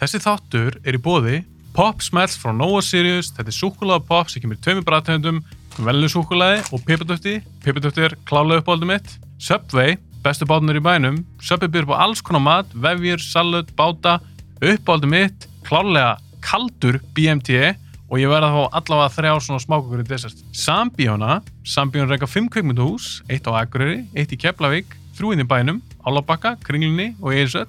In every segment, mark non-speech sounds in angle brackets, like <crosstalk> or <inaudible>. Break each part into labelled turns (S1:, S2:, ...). S1: Þessi þáttur er í bóði Pop Smells frá Nova Sirius, þetta er súkulega pop sem kemur í tveimur bræðtöndum, velinu súkulaði og pipadöfti, pipadöfti er klálega uppáldum mitt, Subway, bestu bátunar í bænum, Subway byrður på alls konar mat, vefjur, salut, báta, uppáldum mitt, klálega kaldur BMT og ég verða að fá allavega þrjá svona smákukur í desert. Sambíóna, Sambíón reyka fimm kveikmynduhús, eitt á Akureyri, eitt í Keflavík, þrjúinn í bænum, Álabakka, Kringlunni og Eirsöll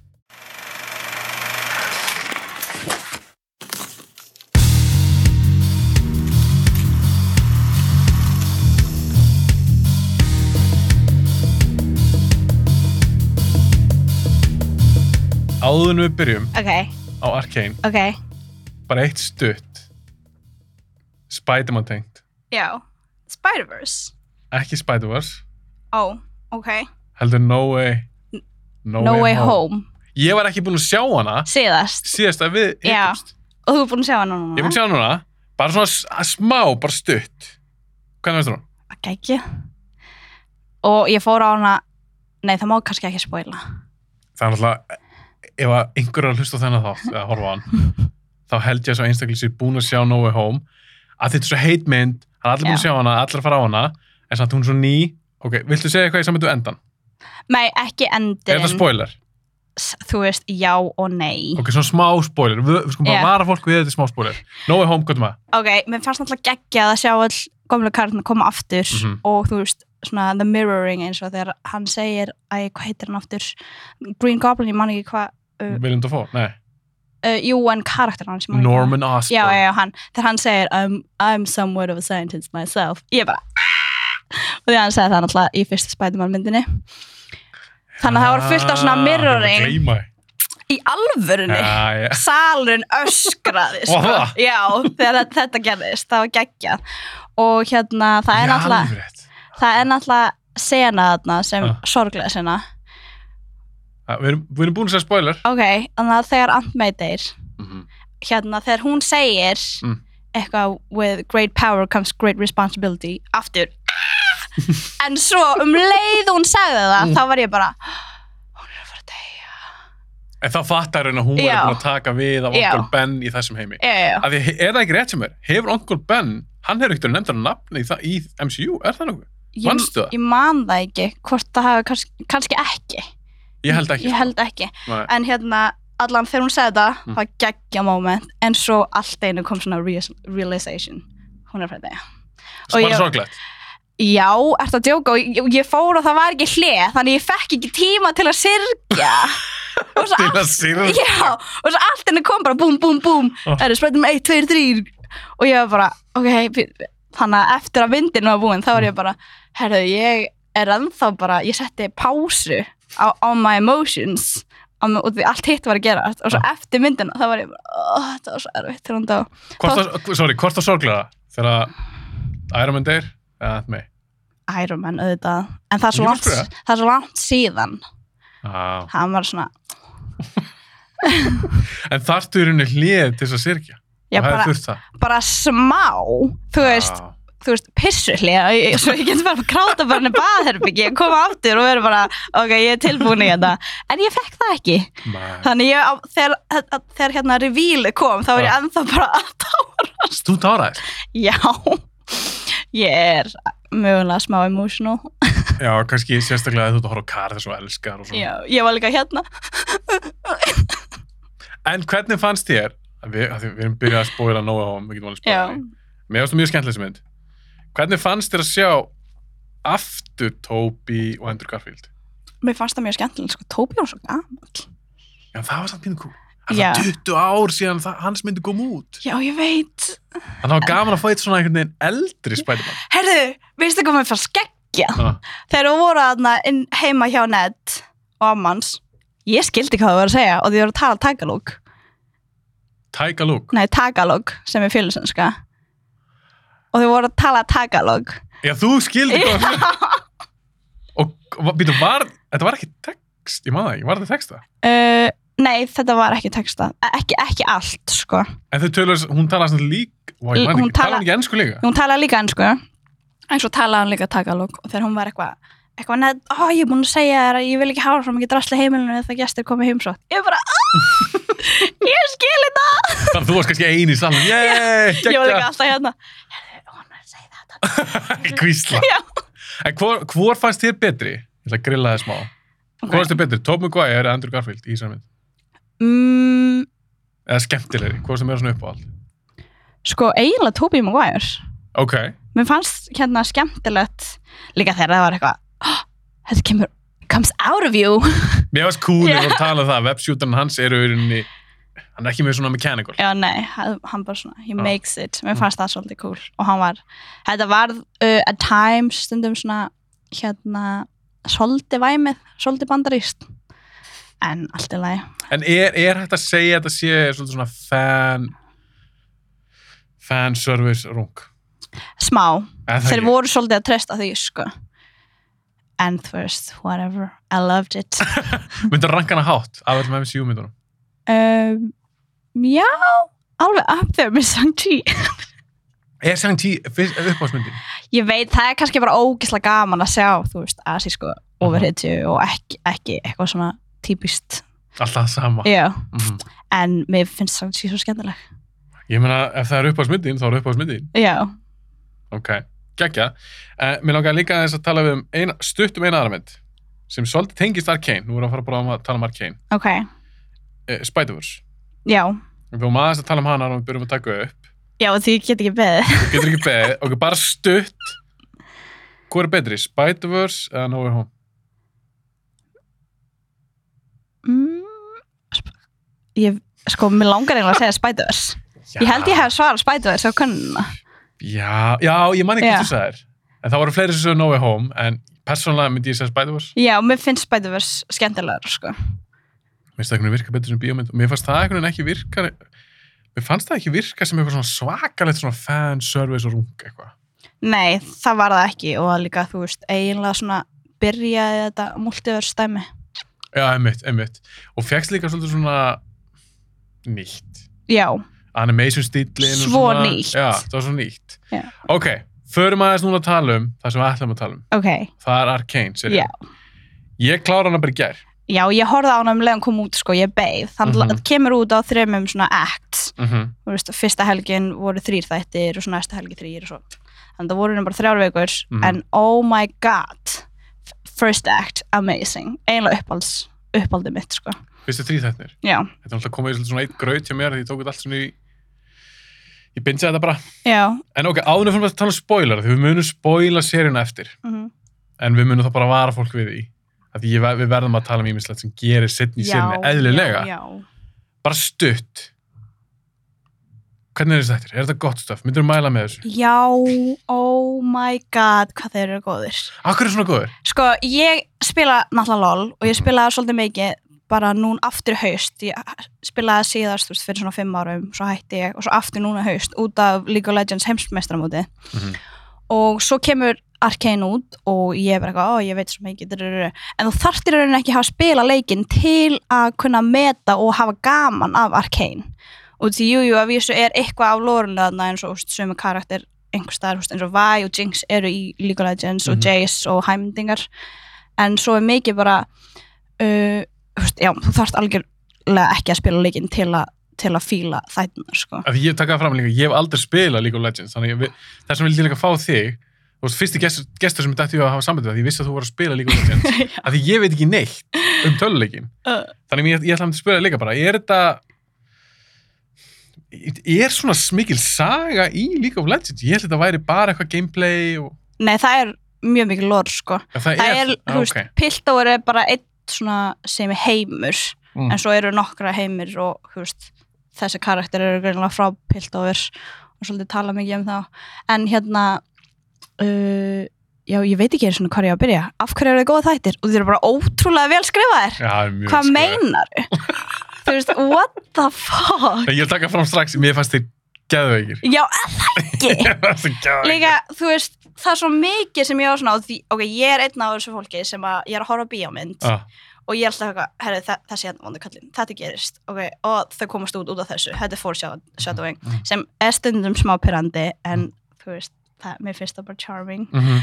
S1: Áður en við byrjum
S2: Ok,
S1: á Arkane,
S2: ok,
S1: bara eitt stutt. Spider-Man tengt.
S2: já Spider-Verse
S1: Ekki Spider-Verse,
S2: Ó, ok
S1: heldur No Way...
S2: No, Way Home,
S1: Ég var ekki búin að sjá hana
S2: síðast
S1: síðast að við
S2: Já.
S1: hittumst.
S2: Og þú er búin að sjá hana núna
S1: Ég mun sjá hana núna, bara svona s- að smá, bara stutt. Hvernig veist hún?
S2: Ok, ekki Og ég fór á hana Nei, það má kannski ekki spoila
S1: Það er náttúrulega, ef að einhver er að hlusta á þennan þátt, eða horfa á
S2: <laughs>
S1: hann, þá held ég að svo einstaklega sér búin að sjá No Way Home, að þetta er svo heitmynd, hann er allir búin að
S2: Já.
S1: sjá hana, allir að fara á hana, en samt hún er svo ný. Ok, viltu segja eitthvað í samvættu endan?
S2: Nei, ekki
S1: Er þetta
S2: endurinn
S1: spoiler?
S2: S- Þú veist, já og nei
S1: Ok, svona smá spoiler. Við, við skulum bara
S2: Já.
S1: vara fólk við þetta er smá spoiler. No Way Home, gott maður.
S2: ok, mér fannst náttúrulega geggja að sjá all gömlega karlina koma aftur
S1: Mhm.
S2: og þú veist, svona the mirroring eins og þegar hann segir, æ, hvað heitir hann aftur Green Goblin, ég man ekki hvað Uh.
S1: Viljum þú fá? Nei.
S2: uh, jú, en karakter hann sem
S1: Norman Osborn.
S2: já, já, já, hann, þegar hann segir I'm, I'm somewhat of a scientist myself ég bara og því að hann segði það náttúrulega í fyrstu Spiderman myndinni þannig að Ah. það Ah, var fullt af
S1: Ah,
S2: svona mirroring í alvörunni
S1: Já, já.
S2: salurinn <laughs> öskraði sko.
S1: Oha.
S2: já, þegar þetta, þetta gerðist það var geggjað og hérna, það er náttúrulega
S1: alveg
S2: það er náttúrulega sena þarna sem
S1: Ha.
S2: sorglega sena
S1: Við erum, vi erum búin að segja spoiler
S2: ok, þannig að þegar Ant-May deyr hérna, þegar hún segir
S1: Mm.
S2: eitthvað with great power comes great responsibility aftur <laughs> en svo um leið hún sagði það
S1: Mm.
S2: þá var ég bara hún er að fara að deyja
S1: En þá fattar hún að hún er
S2: Já.
S1: búin að taka við af
S2: Já.
S1: Uncle Ben í þessum heimi
S2: já, já, já.
S1: Af því, Er það ekki rétt sem er? Hefur Uncle Ben, hann hefur ekkert nefndar nafni í, það- í MCU, er það nokkuð?
S2: ég,
S1: Manstu það?
S2: ég man það ekki hvort það hafi kannski, kannski ekki
S1: Ég held ekki
S2: ég
S1: sko.
S2: held ekki
S1: Nei.
S2: en hérna allan þegar hún segði það
S1: Mm.
S2: það var geggja moment en svo allt einu kom svona reas- realization hún er að fara að deyja
S1: Sem
S2: og
S1: bara
S2: ég-
S1: sorglegt
S2: Já, ertu að djóka og ég, ég fór og það var ekki hlið þannig ég fekk ekki tíma til að
S1: <laughs>
S2: syrgja og svo
S1: Til
S2: allt
S1: að sýra
S2: já, og svo allt henni kom bara búm, búm, búm
S1: Ah.
S2: það eru spættum 1, 2, 3 og ég var bara, ok bí- bí- þannig að eftir að vindin var búin þá var ég bara, herðu, ég er ennþá bara, ég setti pásu á, á my emotions á, og því allt hitt var að gera og
S1: Ah.
S2: svo eftir myndina þá var ég bara, oh, þetta var svo erfitt þegar hún dó
S1: Hvort það- Sorry, hvort það sorglega þegar að Iron Man deyr eða Ant May
S2: Iron Man auðvitað en það er svo
S1: Ég var að
S2: langt,
S1: spyrja.
S2: það er svo langt síðan
S1: ah.
S2: hann var svona
S1: En þarftu í rauninni hlið til þess að syrkja
S2: Já,
S1: og hefði
S2: bara,
S1: þurft það
S2: bara smá, þú veist,
S1: ah.
S2: þú veist, pissuhli, svo ég get bara að kráta bara henni baðherbyggi og koma aftur og vera bara, ok, ég er tilbúin í þetta, en ég fekk það ekki.
S1: Nei.
S2: Þannig ég, á- þegar, að- þegar hérna revíli kom, þá var ég
S1: Já.
S2: ennþá bara að
S1: Þú táraðist
S2: já, ég er mögulega smá emotional.
S1: Já, kannski sérstaklega að þú ert að horfa á kar þess og elskar og svona.
S2: Já, ég var líka hérna.
S1: En hvernig fannst þér, að við, að því við erum byrjað að spóila nógu á, við getum alveg spóila
S2: Já.
S1: því. Mér finnst það mjög skemmtileg sem mynd. Hvernig fannst þér að sjá aftur Tóbi og Andrew Garfield?
S2: Mér fannst það mjög skemmtilega, sko, Tóbi var svo gamall.
S1: Já, það var samt pínu kúl. Það
S2: Já.
S1: var 20 ár síðan það, hans myndi kom út.
S2: Já, ég veit.
S1: Þannig að það var gaman að fá eitt svona einhvern veginn eldri Spiderman.
S2: Herðu, veistu hvað mér fannst skeggja?
S1: Ha.
S2: þegar þú voru aðna inn heima hjá Ned og Ammans ég skildi hvað þú voru að segja og þið voru að tala tagalog
S1: Tæka lúk.
S2: nei tagalog sem er fjölusenska og þið voru að tala tagalog Eh,
S1: Já, þú skildi hvað. Og býtu, var, þetta var ekki text, ég maður það ekki, var þetta texta?
S2: uh, nei, þetta var ekki texta ekki, ekki allt, sko
S1: En þau tölur, hún talaði svona lík, Vá, ég
S2: L-
S1: man
S2: hún
S1: ekki,
S2: tala-
S1: talaði hún ekki ennsku líka?
S2: hún talaði líka enn, sko en svo talaði hún líka tagalog og þegar hún var eitthvað eitthvað, neð, ó, ég er búin að segja þér að ég vil ekki hafa svo mikið drasli í heimilinu eða það gestir komið heimsótt ég bara, "Ah, ég skil þetta
S1: Þannig að þú varst kannski eini
S2: <laughs>
S1: saman, yeah,
S2: ég var líka
S1: geggja,
S2: alltaf hérna "Heyrðu, hún er að segja þetta
S1: kvísla.
S2: Já.
S1: En hvor, hvor fannst þér betri? Ég ætla að grilla það smá. Hvor fannst þér betri, Tobey Maguire eða Andrew Garfield í þessari mynd?
S2: mm,
S1: Eða skemmtilegri, hvað sem er svona uppáhald?
S2: sko, eiginlega Tobey Maguire
S1: Ok,
S2: mér fannst hérna skemmtilegt líka þegar það var eitthvað "Ah, þetta kemur, comes out of you <laughs>
S1: mér varst cool
S2: Já.
S1: yeah. að tala um það, webshooterinn hans eru í rauninni, hann er ekki með svona mechanical.
S2: já nei, hann hann bara svona he
S1: Já.
S2: makes it, mér
S1: Ah.
S2: fannst það svolítið cool og hann var, þetta var uh, at times stundum svona hérna, svolítið væmið svolítið bandaríst en allt í lagi,
S1: En er, er hægt að segja að þetta sé svolítið svona fan fanservice rung?
S2: smá
S1: Eða það
S2: þeir
S1: ekki?
S2: voru svolítið að treysta því sko and first, whatever I loved it
S1: Myndu að ranka hana hátt af öllum MCU myndunum?
S2: um, já, alveg up there með Shang-Chi
S1: Er Shang-Chi fyrst- uppáhaldsmyndin?
S2: ég veit, það er kannski bara ógislega gaman að sjá, þú veist, asísku ofurhetju og ekki, ekki eitthvað svona típist,
S1: Alltaf það sama.
S2: já,
S1: Mhm.
S2: en mér finnst það svo skemmtileg,
S1: Ég meina, ef það er uppáhaldsmyndin, þá er uppáhaldsmyndin.
S2: já
S1: Ok, geggja. Uh, mér langar líka aðeins að tala við um eina, stutt um eina aðra mynd sem svolítið tengist Arkane. Nú erum við að fara bara um að tala um Arkane.
S2: ok,
S1: Uh, Spider-Verse.
S2: já,
S1: Við vorum aðeins að tala um hana og við byrjum að taka upp.
S2: já því ég get ekki beðið
S1: Þú getur ekki
S2: <laughs>
S1: beðið. Ok, bara stutt. Hvor er betri? Spider-Verse eða No Way Home?
S2: mm, sp- ég, sko, mér langar eiginlega að segja Spider-Verse, ég held ég hef svarað Spider-Verse á kunnuna,
S1: Já, já, ég man ekki
S2: Já.
S1: hvað þú sagðir. En það voru fleiri sem sögðu No Way Home, en persónulega myndi ég segja Spider-Verse.
S2: já, mér finnst Spider-Verse skemmtilegur, sko,
S1: Mér finnst það einhvern veginn virka betur sem bíómynd og mér fannst það einhvern veginn ekki virka, mér fannst það ekki virka sem eitthvað svona svakalegt svona fanservice og rung eitthvað.
S2: nei, það var það ekki og líka, þú veist, eiginlega svona byrjaði þetta multiverse dæmi
S1: Já, einmitt, einmitt. Og fegst líka svolítið svona nýtt.
S2: já,
S1: Animation stílinn og
S2: Svo
S1: svona.
S2: nýtt.
S1: Já, það var svo nýtt.
S2: Já.
S1: Ok, förum aðeins núna að tala um það sem við ætlum að tala um.
S2: ok
S1: Það er Arkane, sér
S2: Já.
S1: Ég klára hana bara í gær.
S2: Já, ég horfði á hana um leiðan kom út sko, ég beið. Þannig að
S1: Mhm.
S2: -hmm. kemur út á þremum svona acts.
S1: Mm
S2: Þú veist, fyrsta helgin voru þrýr þættir og svo næsta helgi þrýr og svo. Þannig að það voru henni bara þrjár vekur.
S1: Mhm.
S2: En oh my god, first act, amazing. Einlega uppáhalds, uppáhaldið mitt sko.
S1: Fyrstu þrýþættir.
S2: Já,
S1: Þetta er alltaf komið í svolítið svona eitt graut hjá mér því ég tók þetta allt svona í ég bindi þetta bara.
S2: já.
S1: En ok, áðunum fyrir að tala um spoiler því við munum spoila seríuna eftir
S2: Mm
S1: en við munum þá bara vara fólk við því að ég, ve- við verðum að tala um ímislegt sem gerir setni í seríunni, eðlilega,
S2: Já, já.
S1: bara stutt Hvernig er þetta eftir? Er þetta gott stöf? Myndur þú mæla með þessu?
S2: já, oh my god, hvað þeir eru góðir.
S1: Akkur er svona góður?
S2: Sko, ég spila náttúrulega LOL og ég spilaði svolítið mikið bara núna aftur í haust. Ég spilaði síðast þú veist, fyrir svona fimm árum, svo hætti ég og svo aftur núna í haust út af League of Legends heimsmeistramóti.
S1: Mhm.
S2: Og svo kemur Arkane út og ég er bara eitthvað, ó, ég veit svo mikið, drururur. en þú þarftir raunin ekki að hafa spila leikinn til að kunna meta og hafa gaman af Arkane. Og því, jú, jú, að vísu er eitthvað af lórunni þarna eins og sömu karakter einhver staðar, þú veist, eins og Vi og Jinx eru í League of Legends og
S1: Mhm.
S2: Jace og Hæmendingar en svo er mikið bara uh, þú veist, já, þú þarft algjörlega ekki að spila leikinn til, að- til að fíla þætnar, sko
S1: Af því ég taka það fram líka, ég hef aldrei spilað League of Legends þannig að við- þess vegna vildi ég líka fá þig Þú veist, fyrsti gestur, gestur sem dætti ég að hafa sambandi við, af því ég vissi að þú voru að spila League of Legends
S2: <laughs> Já.
S1: af því ég veit ekki neitt um töluleikin
S2: Uh.
S1: þannig að ég, ég ætla að spyrja líka bara er þetta er svona smikil saga í League of Legends ég held að þetta væri bara eitthvað gameplay og,
S2: Nei, það er mjög mikið lór, sko
S1: ja, það,
S2: Það er,
S1: Ah,
S2: þú veist,
S1: ok.
S2: Piltover er bara einn svona sem er heimur
S1: Mm.
S2: en svo eru nokkra heimir og, þú veist, þessi karakter eru greinlega frá Piltover og svolítið tala mikið um þá en hérna uh, já, ég veit ekki einu svona hvað ég á að byrja af hverju eru þið góða þættir og þið eru bara ótrúlega vel skrifaðir
S1: Já, það er mjög
S2: hvað
S1: sko.
S2: meinar þú veist, what the fuck
S1: Nei, ég vil taka fram strax, mér fannst þér
S2: <laughs>
S1: geðveikir.
S2: já, er það
S1: <laughs>
S2: ekki
S1: Ég var svo geðveikir.
S2: líka, þú veist, það er svo mikið sem ég á svona, á því, ok, ég er einn af þessu fólki sem að, ég er að horfa á bíómynd
S1: Ah,
S2: og ég er alltaf eitthvað, herru, þa- þessi hérna vondu kallin, þetta gerist, ok, og þau komast út út af þessu, þetta er foreshadowing
S1: Mm.
S2: sem er stundum smá pyrrandi en, þú veist, það, mér finnst það bara charming
S1: mhm.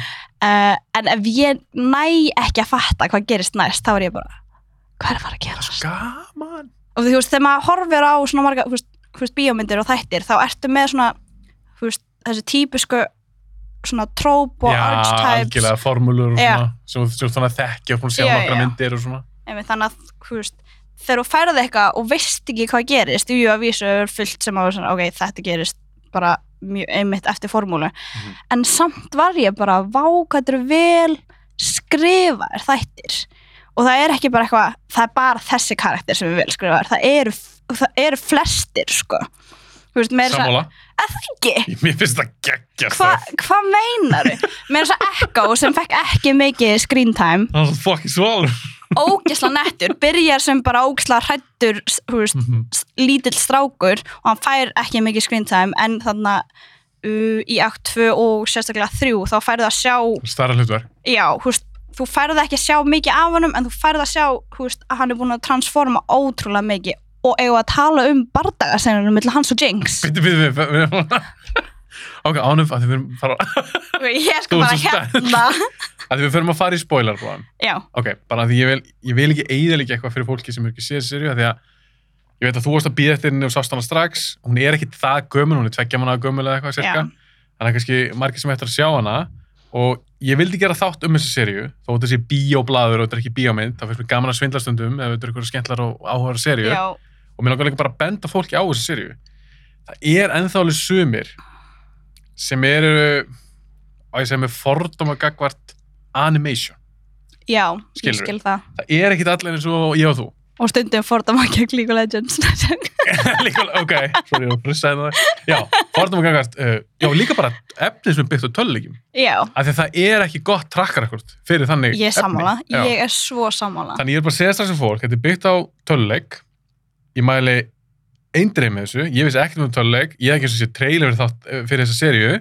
S2: uh, en ef ég næ ekki að fatta hvað gerist næst, þá er ég bara hvað er að
S1: Það
S2: fara að
S1: er
S2: gerast?
S1: svo gaman.
S2: og þú veist, þegar maður horfir á svona marga, þú veist, þú veist, bíómyndir og þættir þá ertu með svona, þú veist, þessi típisku svona tróp og
S1: Já,
S2: archetypes
S1: algjörlega, formúlur og
S2: Já.
S1: svona, sem þú- sem þú þannig að þekki og búin að sjá
S2: Já,
S1: nokkra
S2: já.
S1: myndir og svona.
S2: Emi, þannig að, þú veist, þegar þú færði eitthvað og veist ekki hvað gerist, jú, að vísu er fullt sem að, svona, ok, þetta gerist bara mjög einmitt eftir formúlu
S1: Mhm.
S2: en samt var ég bara vá, hvað þetta eru vel skrifaðir þættir og það er ekki bara eitthvað, það er bara þessi karakter sem er vel skrifaðir, það eru það eru flestir, sko þú veist, meira þess að,
S1: Sammála.
S2: að það ekki
S1: Mér finnst það geggjast.
S2: Hva- hvað meinaru? Mér er svo Echo sem fekk ekki mikið screen time
S1: Það er svo fucking svalur.
S2: ógisla nettur, byrjar sem bara ógisla hrættur, þú veist,
S1: Mhm.
S2: s- lítill strákur og hann fær ekki mikið screen time en þannig uh, í akt 2 og sérstaklega 3 þá færðu að sjá,
S1: Stærra hlutverk.
S2: já, þú veist, þú færðu ekki að sjá mikið af honum en þú færðu að sjá, þú veist, að hann er búin að transforma ótrúlega mikið og eigum að tala um bardagasennunum millir hans og Jinx
S1: Bitti, bitti, bitti. <laughs> Ok, ánum, að því við erum að fara- <laughs>
S2: Ok, ég
S1: Þú
S2: skal bara
S1: ert svo spennt.
S2: hérna
S1: af því við förum að fara í spoiler bráðum.
S2: já,
S1: Ok, bara af því ég vil, ég vil ekki eiðalega eitthvað fyrir fólki sem er ekki séð serju, því að ég veit að þú varst að býða eftir henni og sást hana strax, hún er ekki það gömul, hún er tveggja manna gömul eða eitthvað cirka, þannig að kannski margir sem eftir að sjá hana og ég vildi gera þátt um þessa serju, þó að þessi bíóblaður og þetta er ekki bíómynd, þá finnst mér gaman að svindla stundum ef þetta er eitthvað skemmtlar og áhugaður serju
S2: já,
S1: og mér langar líka bara að benda fólki á þessa serju það er ennþá alveg sumir sem eru á ég segja með fordóma gagvart animation
S2: já, ég
S1: Skilurðu?
S2: skil það
S1: það er ekkit allir eins og ég og þú <laughs>
S2: og stundum fordama gegn League of Legends <laughs>
S1: líka, ok, sorry, ég frissaði það hérna já, fordóma gagvart uh, já, líka bara efni sem er byggt á tölulegjum
S2: já,
S1: af því að það er ekki gott trakkarakort fyrir þannig
S2: Ég er sammála,
S1: Já.
S2: ég er svo sammála
S1: þannig ég er bara að segja strax um fólk, þetta er byggt á töluleik ég mæli eindreið með þessu, ég vissi ekkert um töluleik ég hef ekki eins og sé trailer fyrir, þátt, eh, fyrir þessa seríu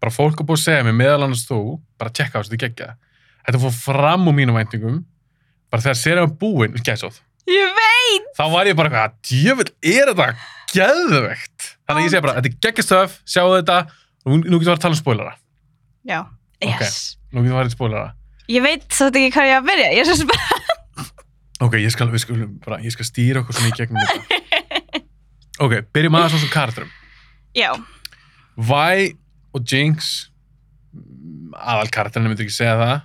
S1: bara fólk er búið að segja mér meðal annars þú, bara tjekka á þessu, þetta er geggja þetta fór fram úr mínum væntingum bara þegar seríu var búin, gæsóð
S2: Ég veit!
S1: þá var ég bara eitthvað, "Ah, djöfull, er þetta geðvegt þannig að ég segja bara, þetta er geggjastöf, sjáu þetta og nú nú getum við að tala um spólara
S2: Já,
S1: Ok.
S2: yes.
S1: nú getum við að fara í spólara
S2: Ég veit svolítið ekki hvað ég á að byrja, ég er svo spennt.
S1: Ok, ég skal, við skulum bara, ég skal stýra okkur svona í gegnum þetta.
S2: <laughs>
S1: Ok, byrjum aðeins á svona karakterum.
S2: Já,
S1: Vi og Jinx, aðal karakterinu myndir ekki segja það.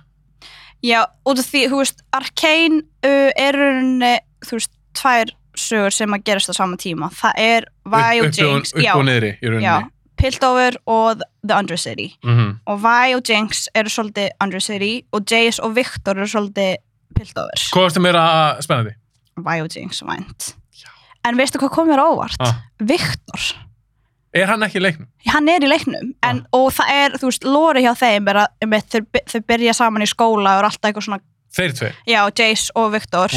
S2: já, út af því, þú veist, Arkane uh, er rauninni, þú veist, tvær sögur sem að gerast á sama tíma. Það er Vi og
S1: Upp- upp
S2: Jinx,
S1: Upp, upp og niðri í
S2: já, já,
S1: rauninni.
S2: Piltover og The Undercity.
S1: Mm
S2: Og Vi og Jinx eru svolítið Undercity og Jace og Victor eru svolítið Piltover.
S1: Hvað varstu meira spennandi?
S2: Vi og Jinx vænt.
S1: Já.
S2: En veistu hvað kom mér á óvart?
S1: Ah.
S2: Victor.
S1: Er hann ekki í leiknum?
S2: hann er í leiknum en, og það er, þú veist, lóri hjá þeim er að um, þau, þau byrja saman í skóla og er alltaf eitthvað svona,
S1: Þeir tvei.
S2: já, Jace og Viktor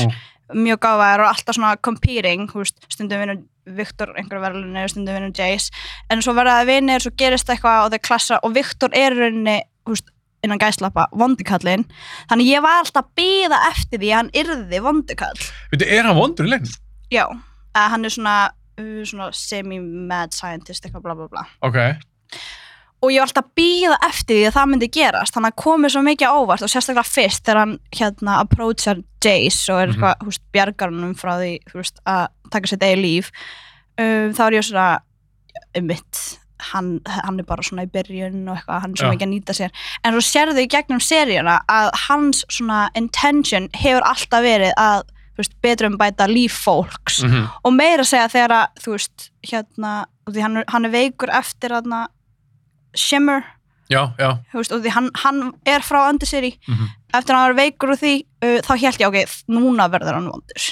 S1: Mm.
S2: mjög gáðar og alltaf svona competing, þú veist, stundum vinnur Viktor einhverju verðlunni og stundum vinnur Jace en svo verða það vinnir, svo gerist eitthvað og þau klassa og Viktor er í rauninni þú veist, innan gæslappa, vondikallin þannig ég var alltaf að býða eftir því að hann yrði vondikall
S1: Veitu, er hann vondur í leiknum?
S2: já, að hann er svona, uh, svona semi-mad scientist eitthvað bla bla bla
S1: Ok,
S2: og ég var alltaf að býða eftir því að það myndi gerast þannig að komið svo mikið á óvart og sérstaklega fyrst þegar hann hérna approachar Jace og er
S1: Mhm.
S2: eitthvað, þú veist, bjargar hann frá því, þú veist, að taka sér degi líf um, þá er ég svona um mitt, hann, hann er bara svona í byrjun og eitthvað, hann er svo
S1: Já.
S2: mikið að nýta sér en svo sérðu í gegnum seríuna að hans svona intention hefur alltaf verið að, þú veist, betrum bæta líf fólks
S1: mm
S2: og meira að segja þegar að þú veist, hérna, og því hann, er- hann er veikur eftir hérna Shimmer,
S1: já, já.
S2: þú veist, og því hann, hann er frá Undercity,
S1: Mm
S2: eftir að hann var veikur og því, uh, þá held ég, ok, þ- núna verður hann vondur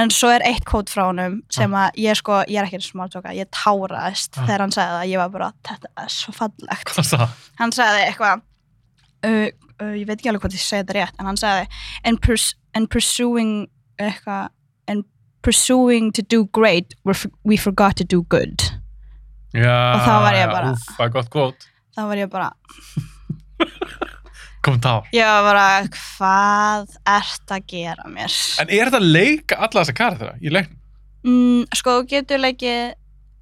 S2: en svo er eitt kót frá honum sem að ég sko, ég er ekki smartjóka, ég táraðist
S1: Ah.
S2: þegar hann sagði það, ég var bara, þetta er svo fallegt
S1: Hvað það?
S2: hann sagði eitthvað uh, uh, ég veit ekki alveg hvað ég segi þetta rétt en hann sagði and, pers and pursuing eitthvað and pursuing to do great we're f- we forgot to do good
S1: Já,
S2: Og þá var ég bara-
S1: Úf, það er gott kvót.
S2: þá var ég bara,
S1: Kom þá.
S2: ég var bara, hvað ert að gera mér?
S1: En er þetta að leika alla þessa karatera í leiknum?
S2: Mm, sko, þú getur leikið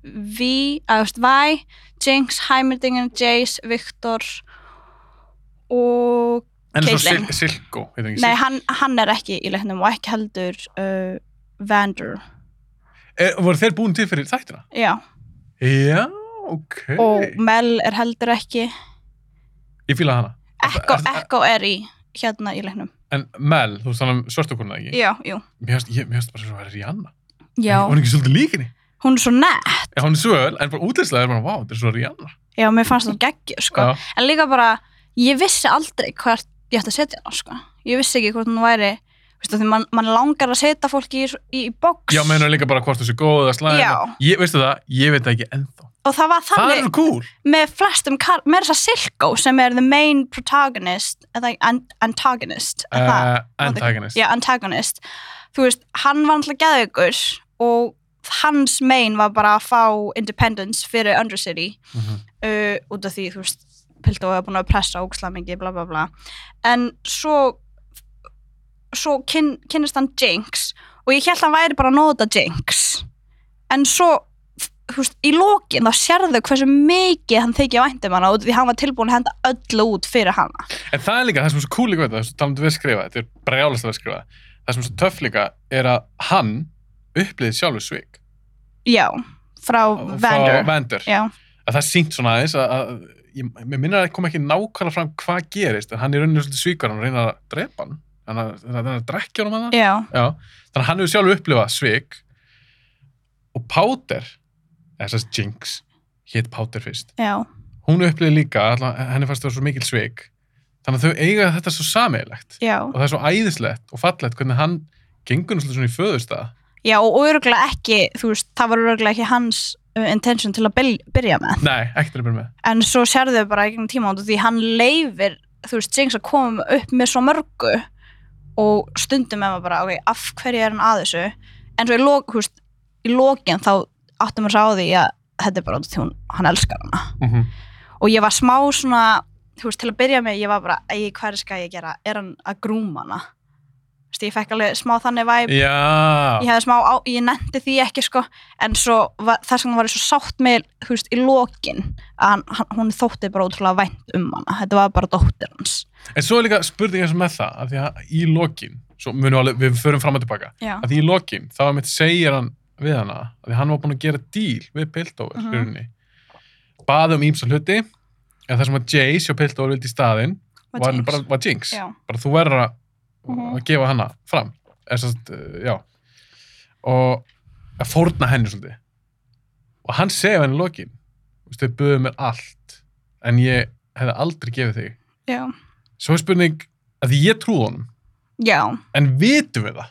S2: V, aðeins Væ, Jinx, Heimerdingen, Jace, Viktor og
S1: En eins og
S2: Caitlyn.
S1: Sil Silko, heitir ekki
S2: Nei,
S1: Silko.
S2: hann, hann er ekki í leiknum og ekki heldur uh, Vander.
S1: Er, Eh, voru þeir búin til fyrir þættina?
S2: Já,
S1: Já, ok.
S2: og Mel er heldur ekki.
S1: Ég fíla hana.
S2: Ekko,
S1: Er það-
S2: Ekko er í hérna í leiknum.
S1: En Mel, þú veist hann um svörtukurna ekki?
S2: Já, jú.
S1: Mér finnst- ég- mér finnst bara svo að Rihanna.
S2: Já,
S1: Hún er ekki svolítið líkinni.
S2: hún er svo nett.
S1: Já, hún er svöl, en bara útlæslega er bara, vá, þetta er svo Rihanna.
S2: Já, mér fannst það geggjur, sko.
S1: Já.
S2: En líka bara, ég vissi aldrei hvert ég ætti að setja hana, sko. Ég vissi ekki hvort hún væri, veistu, því mann man langar að setja fólki í, í, í box.
S1: Já, meðan líka bara hvort þú sé góð eða slæðið.
S2: Já.
S1: Ég, veistu það, ég veit það ekki ennþá.
S2: Og það var
S1: Það
S2: þannig
S1: er cool.
S2: með flestum, kar- með þess að Silko sem er the main protagonist, eða an- antagonist, er það?
S1: Uh, antagonist.
S2: já, antagonist þú veist, hann var náttúrulega geðveikur og hans mein var bara að fá independence fyrir Undercity
S1: Mhm.
S2: uh, út af því, þú veist Piltó hefur búin að pressa ógslag mikið, bla bla bla en svo svo kyn, kynnist hann Jinx og ég held hann væri bara að nota Jinx en svo þú veist, í lokin þá sérðu hversu mikið hann þykja væntum hana út af því hann var tilbúin að henda öllu út fyrir hana
S1: En það er líka, það sem er svo cool líka við þetta, það er svo talandi um við skrifa, þetta er brjálast að við skrifa, það sem er svo töff líka er að hann upplýði sjálfur svik.
S2: já, frá
S1: Frá
S2: Vander
S1: Vander.
S2: já,
S1: Að það er sínt svona aðeins að, að ég, mér minna að það kom ekki nákvæmlega fram hvað gerist, en hann er rauninni svolítið svíkar, hann reynir að drepa hann, hann er hann er að drekja honum hann það.
S2: já
S1: Já, þannig að hann hefur sjálfur upplifað svik og Powder, eða þess að Jinx, hétt Powder fyrst.
S2: Já,
S1: Hún upplifði líka, allan, henni fannst það svo mikil svik, þannig að þau eiga þetta svo sameigilegt.
S2: já.
S1: og það er svo æðislegt og fallegt hvernig hann gengur náttúrulega svona í föðurstað
S2: Já, og örgulega ekki, þú veist, það var örgulega ekki hans uh, intention til að byl- byrja með.
S1: nei, ekkert er að byrja með
S2: En svo sérðu þau bara í gegnum tíma út af því hann leifir, þú veist, Jinx að koma upp með svo mörgu og stundum er maður bara, ok, af hverju er hann að þessu? En svo í, lok, þú veist, í lokin þá áttum við sá því að þetta er bara út af því hún, hann elskar hana.
S1: mm -hmm.
S2: Og ég var smá svona, þú veist, til að byrja með, ég var bara, ei, hvað er skal ég gera? Er hann að grúma hana? Þú veist, ég fekk alveg smá þannig væp ég
S1: já,
S2: hefði smá á, ég nefndi því ekki sko, en svo var, þess vegna var ég svo sátt með, þú veist, í lokin að hann, hann, hún þótti bara ótrúlega vænt um hana, þetta var bara dóttir hans
S1: en svo er líka spurningar sem með það að því að í lokin, svo munum við alveg, við förum fram og tilbaka,
S2: já,
S1: að því í lokin þá er mitt segir hann við hana að því hann var búin að gera díl við Piltover mm
S2: Mhm.
S1: -hmm. baði um ímsa hluti en það sem að Jace og Piltover vildi í staðinn
S2: Var
S1: var,
S2: Jinx.
S1: bara, var Jinx
S2: já,
S1: bara þú verður að,
S2: Mhm.
S1: að gefa hana fram eða sem sagt, uh, já og að fórna henni svolítið og hann segir henni í lokin þú veist, þau böðu mér allt en ég hefði aldrei gefið þig
S2: já,
S1: svo er spurning að því ég trúð honum
S2: já
S1: en vitum við það,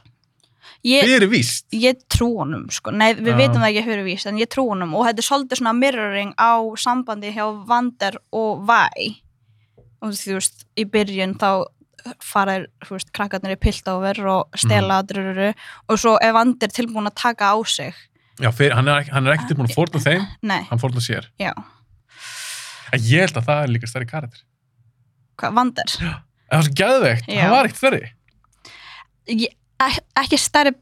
S2: ég,
S1: fyrir víst
S2: ég trú honum sko, nei, við
S1: Já.
S2: vitum það ekki fyrir víst en ég trú honum og þetta er svolítið svona mirroring á sambandi hjá Vander og Væ og þú veist, í byrjun þá fara, þeir, þú veist, krakkarnir í piltóver og stela,
S1: Mhm.
S2: mm. drururu og svo ef Vander tilbúin að taka á sig
S1: já, fyrir, hann er ekki- hann er ekkert tilbúin að fórna þeim
S2: nei,
S1: hann fórna sér
S2: já
S1: en ég held að það er líka stærri karakter
S2: hvað, vandar
S1: en það er svo geðveikt,
S2: Já.
S1: hann var ekkert stærri
S2: Ég- ek- ekki stærri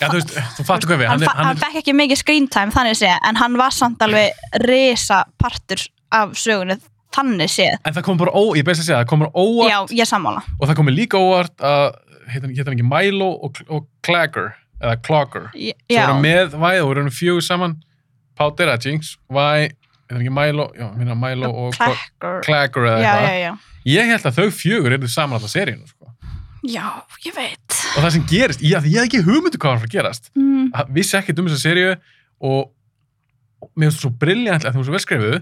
S1: já, þú veist, þú fattu hvað við
S2: hann, hann, hann fekk ekki mikið screen time þannig sé en hann var samt alveg risa partur af sögunni þannig sé
S1: en það kom bara ó, ég beins að segja, það kom bara óa
S2: já, ég sammála
S1: og það komið líka óvart að hétt hann, hét hann ekki Milo og, og Clagger eða Clogger
S2: Ég-
S1: sem
S2: já,
S1: voru með Væ og voru hann fjögur saman Powder að Jinx, Væ hétt hann ekki Milo, já, minna Milo og Cla-
S2: klekkur
S1: Clagger eða
S2: já, já,
S1: eitthvað
S2: já. ég
S1: ég held að þau fjögur eru saman alltaf seríun sko.
S2: já, ég veit
S1: og það sem gerist, ég, ég hef ekki hugmyndu hvað var að fara að gerast
S2: mm,
S1: Hann vissi ekkert um þessa seríu og og mér finnst svo briljant að þú var svo velskrifuð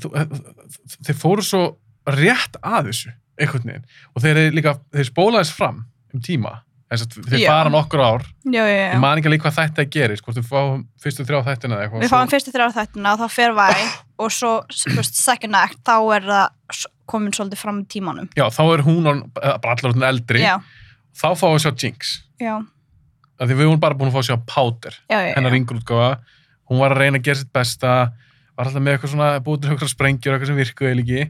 S1: Þú- eh, þ- þeir fóru svo rétt að þessu einhvern veginn og þeir, eru líka, þeir spólaðis fram um tíma þess að þeir
S2: Já.
S1: fara nokkur ár
S2: já, já,
S1: ég
S2: já.
S1: man ekki líka hvað þetta gerist hvort þau fáum fyrstu þrjá þættina eða eitthvað
S2: við fáum fyrstu þrjá þættina og þá fer væ og svo þú veist, second act þá er það s- komin svolítið fram í tímanum
S1: já, þá er hún on, bara allar orðin eldri
S2: já,
S1: þá fáum við að sjá Jinx
S2: já,
S1: af því við vorum bara búin að fá að sjá Powder
S2: já, já,
S1: hennar
S2: já.
S1: yngur útgáfa hún var að reyna að gera sitt besta var alltaf með eitthvað svona búið til eitthvað sprengjur eitthvað sem virkuði eða ekki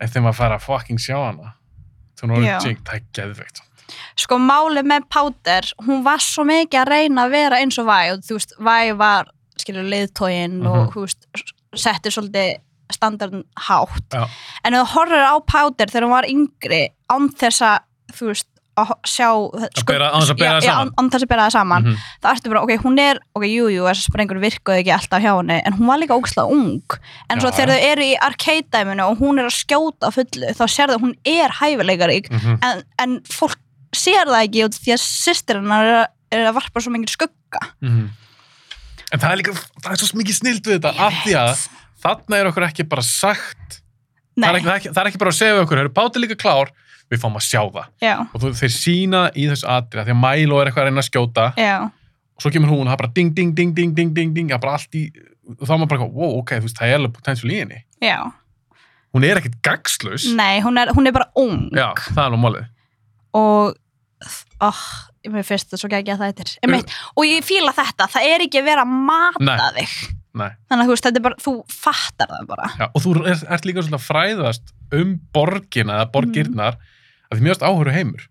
S1: en þegar maður fær að fucking sjá hana þá er hún
S2: Já.
S1: orðin jink, það er geðveikt samt.
S2: sko málið með Powder hún var svo mikið að reyna að vera eins og Væ og þú veist, Væ var skilur leiðtógin og
S1: Mhm.
S2: þú veist setti svolítið standardin hátt
S1: Já.
S2: en ef þú horfir á Powder þegar hún var yngri án þess að þú veist að ho- sjá
S1: bera- án þess að bera það
S2: Já, já,
S1: saman.
S2: án, án þess að bera það saman
S1: Mhm.
S2: þá ertu bara, ok, hún er, ok, jú, jú þessar sprengur virkuðu ekki alltaf hjá henni en hún var líka ógslag ung en
S1: Já,
S2: svo þegar
S1: já.
S2: þau eru í arcade-dæminu og hún er að skjóta á fullu, þá sérðu að hún er hæfileikarík
S1: Mhm.
S2: en, en fólk sér það ekki út því að systir hennar er, að- er að varpa svo mikið skugga
S1: Mhm. en það er líka það er svo mikið snild við þetta af því að þarna er okkur ekki bara sagt það er
S2: Nei,
S1: ekki, það, er ekki, það er ekki bara að segja við okkur, eru báti líka klár við fáum að sjá það
S2: já,
S1: og þú, þeir sína í þessu atrið því að Milo er eitthvað að reyna að skjóta
S2: já,
S1: og svo kemur hún og það er bara ding, ding, ding, ding, ding, ding, ding það er bara allt í, og þá er maður bara eitthvað, wow, ok, þú veist, það er alveg potential í henni
S2: já
S1: hún er ekkit gagslaus
S2: Nei, hún er, hún er bara ung
S1: já, það er nú málið
S2: og oh, mér finnst það svo ekki að það eittir Einmitt, og ég fíla þetta, það er ekki að vera að mata
S1: Nei.
S2: þig
S1: Nei.
S2: þannig að þú veist, þetta er bara, þú fattar það bara
S1: já, og þú er, ert líka svona að fræðast um borgina eða borgirnar af því mjögst áhöru heimur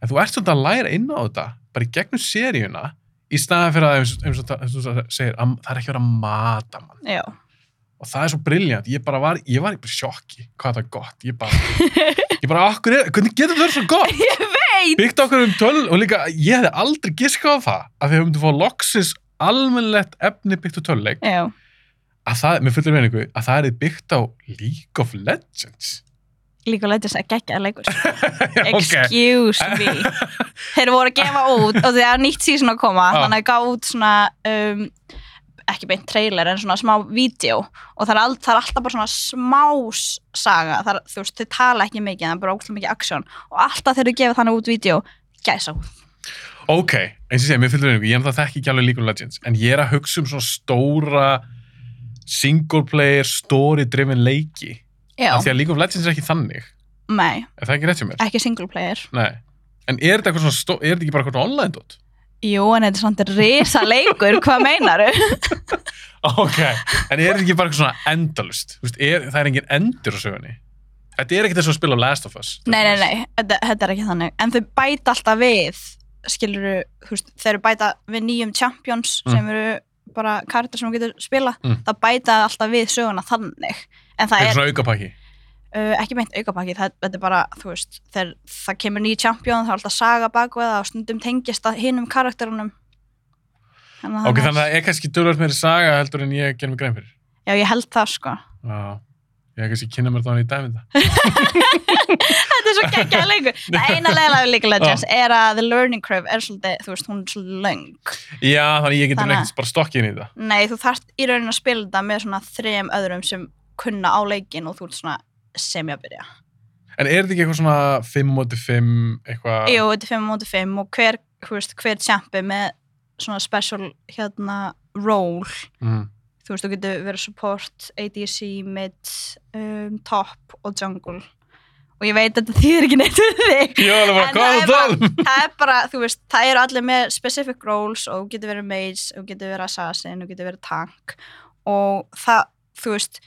S1: en þú ert svona að læra inn á þetta bara í gegnum seríuna í staðan fyrir að eins, eins, og það- eins og þú segir, að, það er ekki verið að mata mann
S2: Já, <laughs>
S1: og það er svo briljant, ég bara var ég var í bara sjokki, hvað þetta er gott ég bara, ég bara, okkur er, hvernig getur það verið svo gott
S2: ég veit
S1: byggt okkur um tölun og líka, ég hefði aldrei giskað á það að því að við myndum fá loksins almennlegt efni byggt á töluleik
S2: Já,
S1: að það, með fullir meiningu, að það er byggt á League of Legends <laughs>
S2: líka lætið þess að gegja að leikur
S1: ok,
S2: Excuse me
S1: <laughs>
S2: Þeir voru að gefa út og þegar nýtt síðan að koma
S1: Já.
S2: þannig að gaf út svona um, ekki beint trailer en svona smá vídeo og það er, all, það er alltaf bara svona smá s- saga það er, þú veist, þau tala ekki mikið en það er bara ókslega mikið aksjón og alltaf þegar þau gefa þannig út vídeo gæsa út
S1: ok eins og ég segi, með fullir meiningu, ég er náttúrulega þekki ekki alveg League of Legends en ég er að hugsa um svona stóra single player story driven leiki af
S2: Já,
S1: því að League of Legends er ekki þannig
S2: nei,
S1: er það ekki rétt sem mér?
S2: ekki single player
S1: Nei. En er þetta eitthvað svona, stó- er þetta ekki bara eitthvað svona online dot?
S2: Jú, en þetta er samt risa leikur hvað meinaru?
S1: Ok. En er þetta ekki bara eitthvað svona endalust? Þú veist, er, það er engin endur á sögunni. Þetta er ekkert eins og að spila á Last of Us.
S2: Nei, nei, nei, þetta, þetta er ekki þannig En þau bæta alltaf við skiluru, veist, þeir eru bæta við nýjum champions
S1: Mm.
S2: sem eru bara kartar sem þú getur spila
S1: Mm.
S2: það bæta alltaf við söguna þannig en það
S1: Þetta er
S2: er
S1: svona aukapakki.
S2: uh, ekki meint aukapakki það, þetta er bara, þú veist, þegar það kemur nýjum champion það er alltaf saga bakveða og stundum tengist að hinum karakterunum þannig
S1: Ok,
S2: það
S1: þannig að það er kannski dölvöld meiri saga heldur en ég gerum mig grein fyrir.
S2: er- já, ég held það sko
S1: Já. Ég er kannski kynna mér þannig í dæminda.
S2: þetta er svo geggjað leikur það eina leiðilega við League of Legends er að the learning curve er svolítið, þú veist, hún er svolítið löng
S1: Já, þannig að ég getur
S2: Þannig að-
S1: ekkert bara stokkið inn í það.
S2: Nei, þú þarft í rauninni að spila þetta með svona þrejum öðrum sem kunna á leikin og þú ert svona sem ég að byrja.
S1: En er þetta ekki eitthvað svona 5 moti 5, eitthvað...
S2: Jú, þetta er 5 mútið 5 og hver, þú veist, hver champi með svona special hérna role,
S1: Mm.
S2: þú veist, þú getur verið support, ADC, mid, um, top og jungle og ég veit að þetta þýðir ekki neitt við þig.
S1: Ég var alveg bara, hvað
S2: En
S1: er
S2: það
S1: það
S2: er
S1: að tala um?
S2: Það er bara, þú veist, það eru allir með specific roles og þú getur verið mage og þú getur verið assassin og þú getur verið tank og það, þú veist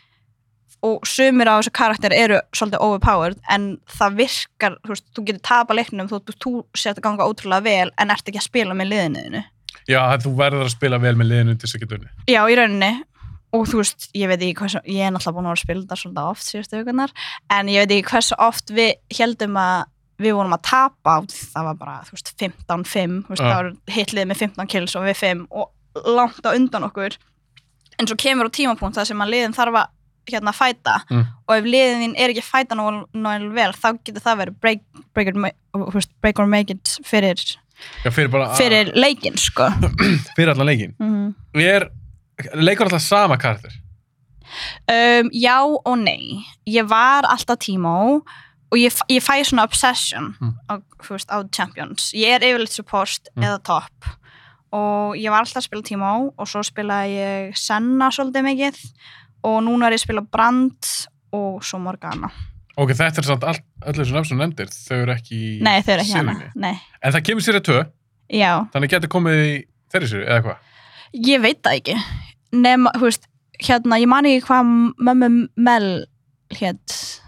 S2: og sumir á þessu karakter eru svolítið overpowered en það virkar, þú veist, þú getur tapa leiknum þú, þú, þú sér að ganga ótrúlega vel en ert ekki að spila með liðinuðinu
S1: Já, þú verður að spila vel með liðinu til þess að geta unni.
S2: Já, í rauninni og þú veist, ég veit ekki hversu ég er náttúrulega búin að vera að spila þetta svolítið oft síðustu aukunar, en ég veit ekki hversu oft við heldum að við vorum að tapa út, það var bara, þú veist, 15-5 þú veist,
S1: Já.
S2: það var hitlið með 15 kills og við 5 og langt á undan okkur en svo kemur á tímapunkt það sem að liðin þarf að hérna fæta
S1: Mm.
S2: og ef liðin þín er ekki að fæta náttúrulega vel, þá getur það verið break, break, or, ma- þú veist, break or make it fyrir,
S1: Já, fyrir bara...
S2: fyrir leikin, sko
S1: <laughs> Fyrir allan leikin.
S2: mm
S1: er, leikur alltaf sama karakter
S2: Um, já og nei. Ég var alltaf Timo og ég, f- ég fæ svona obsession
S1: Mm.
S2: á, þú veist, á Champions. Ég er yfirleitt support
S1: Mm.
S2: eða top og ég var alltaf að spila Timo og svo spilaði ég Senna svolítið mikið og núna er ég að spila Brand og svo Morgana.
S1: ok, þetta er samt all, öll þessu nöfn sem þú nefndir þau eru ekki í
S2: Nei, þau eru ekki hérna. hana.
S1: seríunni.
S2: Nei,
S1: en það kemur sér að tö,
S2: já.
S1: þannig getur komið í þeirri sér, eða hvað
S2: Ég veit það ekki. nema, þú veist, hérna, ég man ekki hvað mömmu Mel hétt.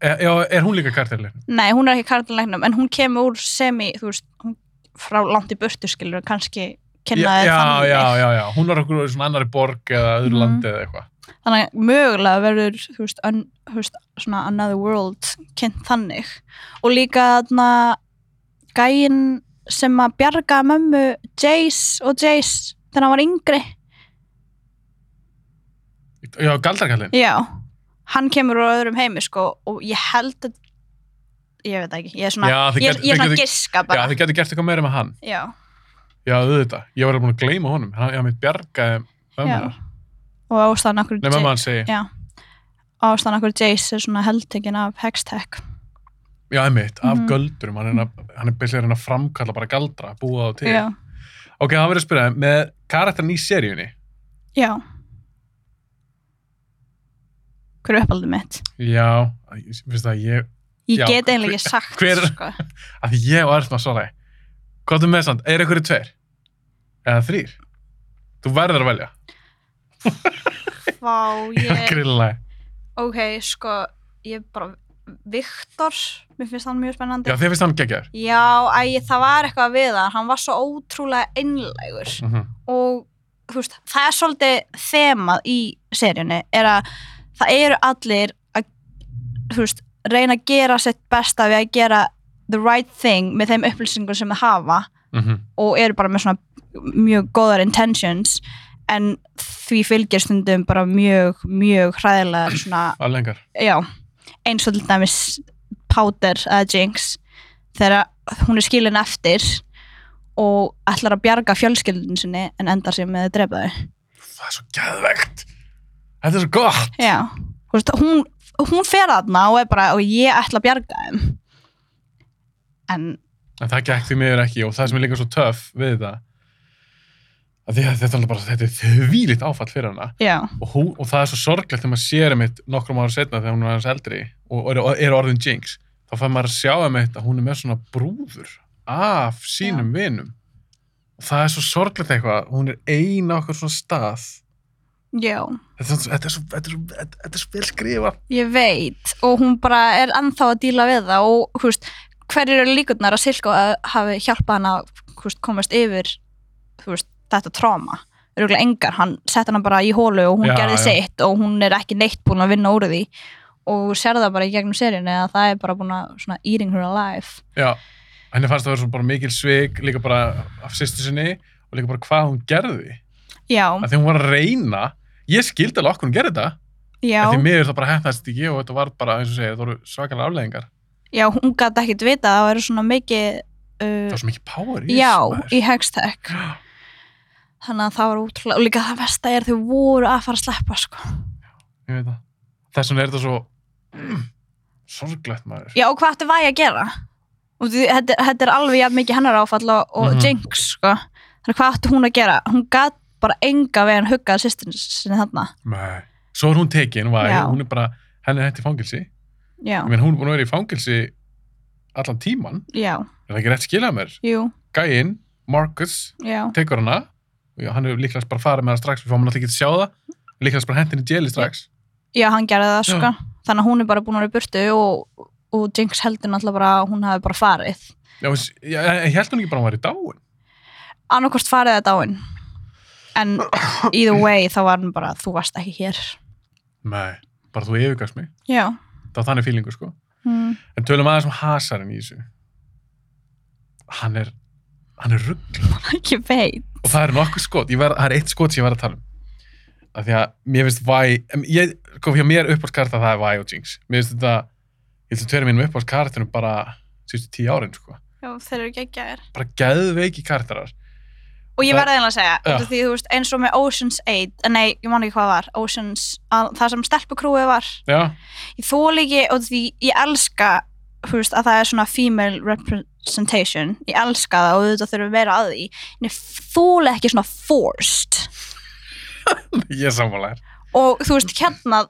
S1: E, já, er hún líka kartellir?
S2: Nei, hún er ekki kardilæknum, en hún kemur úr semi, þú veist, hún frá langt í burtu, skilur, kannski kynna
S1: Já,
S2: þér
S1: já,
S2: þannig.
S1: já, já, já. Hún er okkur svona annari borg eða öðru
S2: Mhm.
S1: landi eða eitthvað.
S2: Þannig að mögulega verður, þú veist, un, þú veist, svona another world kynnt þannig. Og líka þarna gæinn sem að bjarga mömmu Jace og Jace þegar hann var yngri.
S1: Já, galdrakarlinn.
S2: Já, hann kemur úr öðrum heimi sko og ég held að ég veit það ekki, ég er svona
S1: Já, þið
S2: ég, er-
S1: gætu-
S2: ég
S1: þið
S2: er svona
S1: gætu-
S2: að giska
S1: Já,
S2: bara
S1: þið getur gert eitthvað meira með hann.
S2: Já,
S1: Já, auðvitað. Ég var alveg búin að gleyma honum. Hann, ég hafði mitt bjargaði
S2: já,
S1: mömmunar.
S2: og ástæðan okkur
S1: Nei, mömmu hann segi.
S2: Já, ástæðan okkur Jace er svona heldtekinn af Hextech
S1: Já, einmitt, af
S2: Mhm.
S1: göldrum. Hann er, að- hann er byrjað að reyna að framkalla bara galdra, búa þá til.
S2: Já,
S1: Ok, það verður að spyrja, með karakterin í seríunni,
S2: já Hver er uppaldið mitt?
S1: já, ég finnst það að ég,
S2: Ég
S1: Já,
S2: get
S1: hver-
S2: eiginlega ekki sagt
S1: hver-
S2: sko.
S1: að ég og Erna svaraði, hvað er með samt, er einhverju tveir? Eða þrýr? Þú verður að velja.
S2: Vá,
S1: <laughs> Yeah.
S2: ég
S1: Grillilega.
S2: Ok, sko, ég bara Viktor, mér finnst hann mjög spennandi
S1: Já, þið finnst hann geggjar.
S2: Já, æ, það var eitthvað við hann, hann var svo ótrúlega einlægur
S1: Mm
S2: og þú veist, það er svolítið þemað í seríunni, er að það eru allir að þú veist, reyna að gera sitt besta við að gera the right thing með þeim upplýsingum sem þið hafa
S1: mhm,
S2: og eru bara með svona mjög góðar intentions en því fylgir stundum bara mjög, mjög hræðilegar svona
S1: Að lengar.
S2: já, eins og til dæmis Powder eða Jinx þegar hún er skilin eftir og ætlar að bjarga fjölskyldun sinni en endar sér með að drepa þau
S1: Það er svo geðvegt. Þetta er svo gott.
S2: já, Þú veist, hún, hún fer aðna og er bara og ég ætla að bjarga þeim en
S1: En það gekk því miður ekki og það sem er líka svo töff við þetta, að því að þetta er alveg bara, þetta er þvílitt áfall fyrir hana.
S2: já,
S1: og, hún, og það er svo sorglegt þegar maður sér einmitt nokkrum ára setna þegar hún er aðeins eldri og er, er orðin jinx þá fær maður að sjá einmitt að hún er með svona brúður af sínum vinum og það er svo sorglegt eitthvað hún er ein á okkur svona stað
S2: já,
S1: þetta er, svo- þetta er, svo, þetta er, svo, þetta þetta er svo vel skrifa
S2: ég veit og hún bara er ennþá að díla við það og hú veist, hverjir eru líkurnar að Silko að hafi hjálpað hann að þú veist, komast yfir þú veist, þetta tráma öruglega engar, hann sett hann bara í hólu og hún
S1: Já,
S2: gerði
S1: já.
S2: sitt og hún er ekki neitt búin að vinna úr því og þú sér það bara í gegnum seríunni að það er bara búin að svona eating her alive
S1: Já, henni fannst það vera svo bara mikil svik líka bara af sýstu sinni og líka bara hvað hún gerði
S2: já,
S1: að því hún var að reyna ég skildi alveg okkur hún gerði þetta
S2: já,
S1: en því miður það bara hefnast ekki og þetta var bara eins og segja það voru svakalega afleggingar
S2: já hún gæti ekkit vita að það eru svona mikið
S1: það
S2: uh,
S1: var svo mikið power í
S2: já,
S1: þessu, maður.
S2: í hegstæk þannig að það var útrúlega og líka það versta er þau voru að fara að sleppa sko
S1: ég veit það þess vegna er þetta svo mm, sorglegt maður
S2: Já, og hvað ætti vægi að gera? Og því- Þetta, þetta er alveg jafn mikið hennar áfall og, og
S1: Mhm.
S2: Jinx, sko. Þannig hvað ætti hún að gera? Hún gat bara enga veginn huggað sýstin sinni þarna.
S1: Nei. svo er hún tekin, væri,
S2: Já.
S1: hún er bara henni er hætt í fangilsi
S2: Já,
S1: Ég meina, hún er búin að vera í fangilsi allan tíman
S2: já,
S1: er það ekki rétt skiljað mér
S2: jú,
S1: gæinn, Marcus,
S2: já,
S1: tekur hana og hann er líklegast bara að fara með hana strax við fáum hann alltaf ekki að sjá það líklegast bara hentin í jeli strax
S2: já, hann gerði það,
S1: Já.
S2: sko. Þannig að hún er bara búin að vera í burtu og, og Jinx heldur náttúrulega bara að hún hafi bara farið.
S1: já, veist, ég, ég held hún ekki bara að hún var í dáin
S2: Annarkost farið þetta á hinn. En either way, þá var hann bara, þú varst ekki hér.
S1: Nei. bara þú yfirgast mig,
S2: Já.
S1: það var þannig fílingu sko
S2: Mm.
S1: En tölum aðeins um hasarinn í þessu. Hann er, hann er ruggl.
S2: Ég veit.
S1: Og það er nokkuð skot, Ég var, það er eitt skot sem ég var að tala um. Af því að mér finnst væ, em, ég, kom hjá mér uppáhaldskarta það er væ og jinx. Mér finnst þetta, ég held að tverja mínum uppáhaldskartunum bara sístu tíu árin, sko.
S2: Já, þeir eru geggjaðir.
S1: Bara geðveiki kartarar.
S2: Og ég
S1: Það-
S2: verði eiginlega að segja,
S1: Já.
S2: út af því, þú veist, eins og með Ocean's 8, eh, nei, ég man ekki hvað var, Ocean's, að, það sem stelpukrúið var,
S1: Já, <laughs>
S2: ég þóli ekki, út af því, ég elska, þú veist, að það er svona female representation, ég elska það og auðvitað þurfum meira að því, en ég þóli ekki svona forced.
S1: ég er <laughs> sammálaður.
S2: Og þú veist, hérna,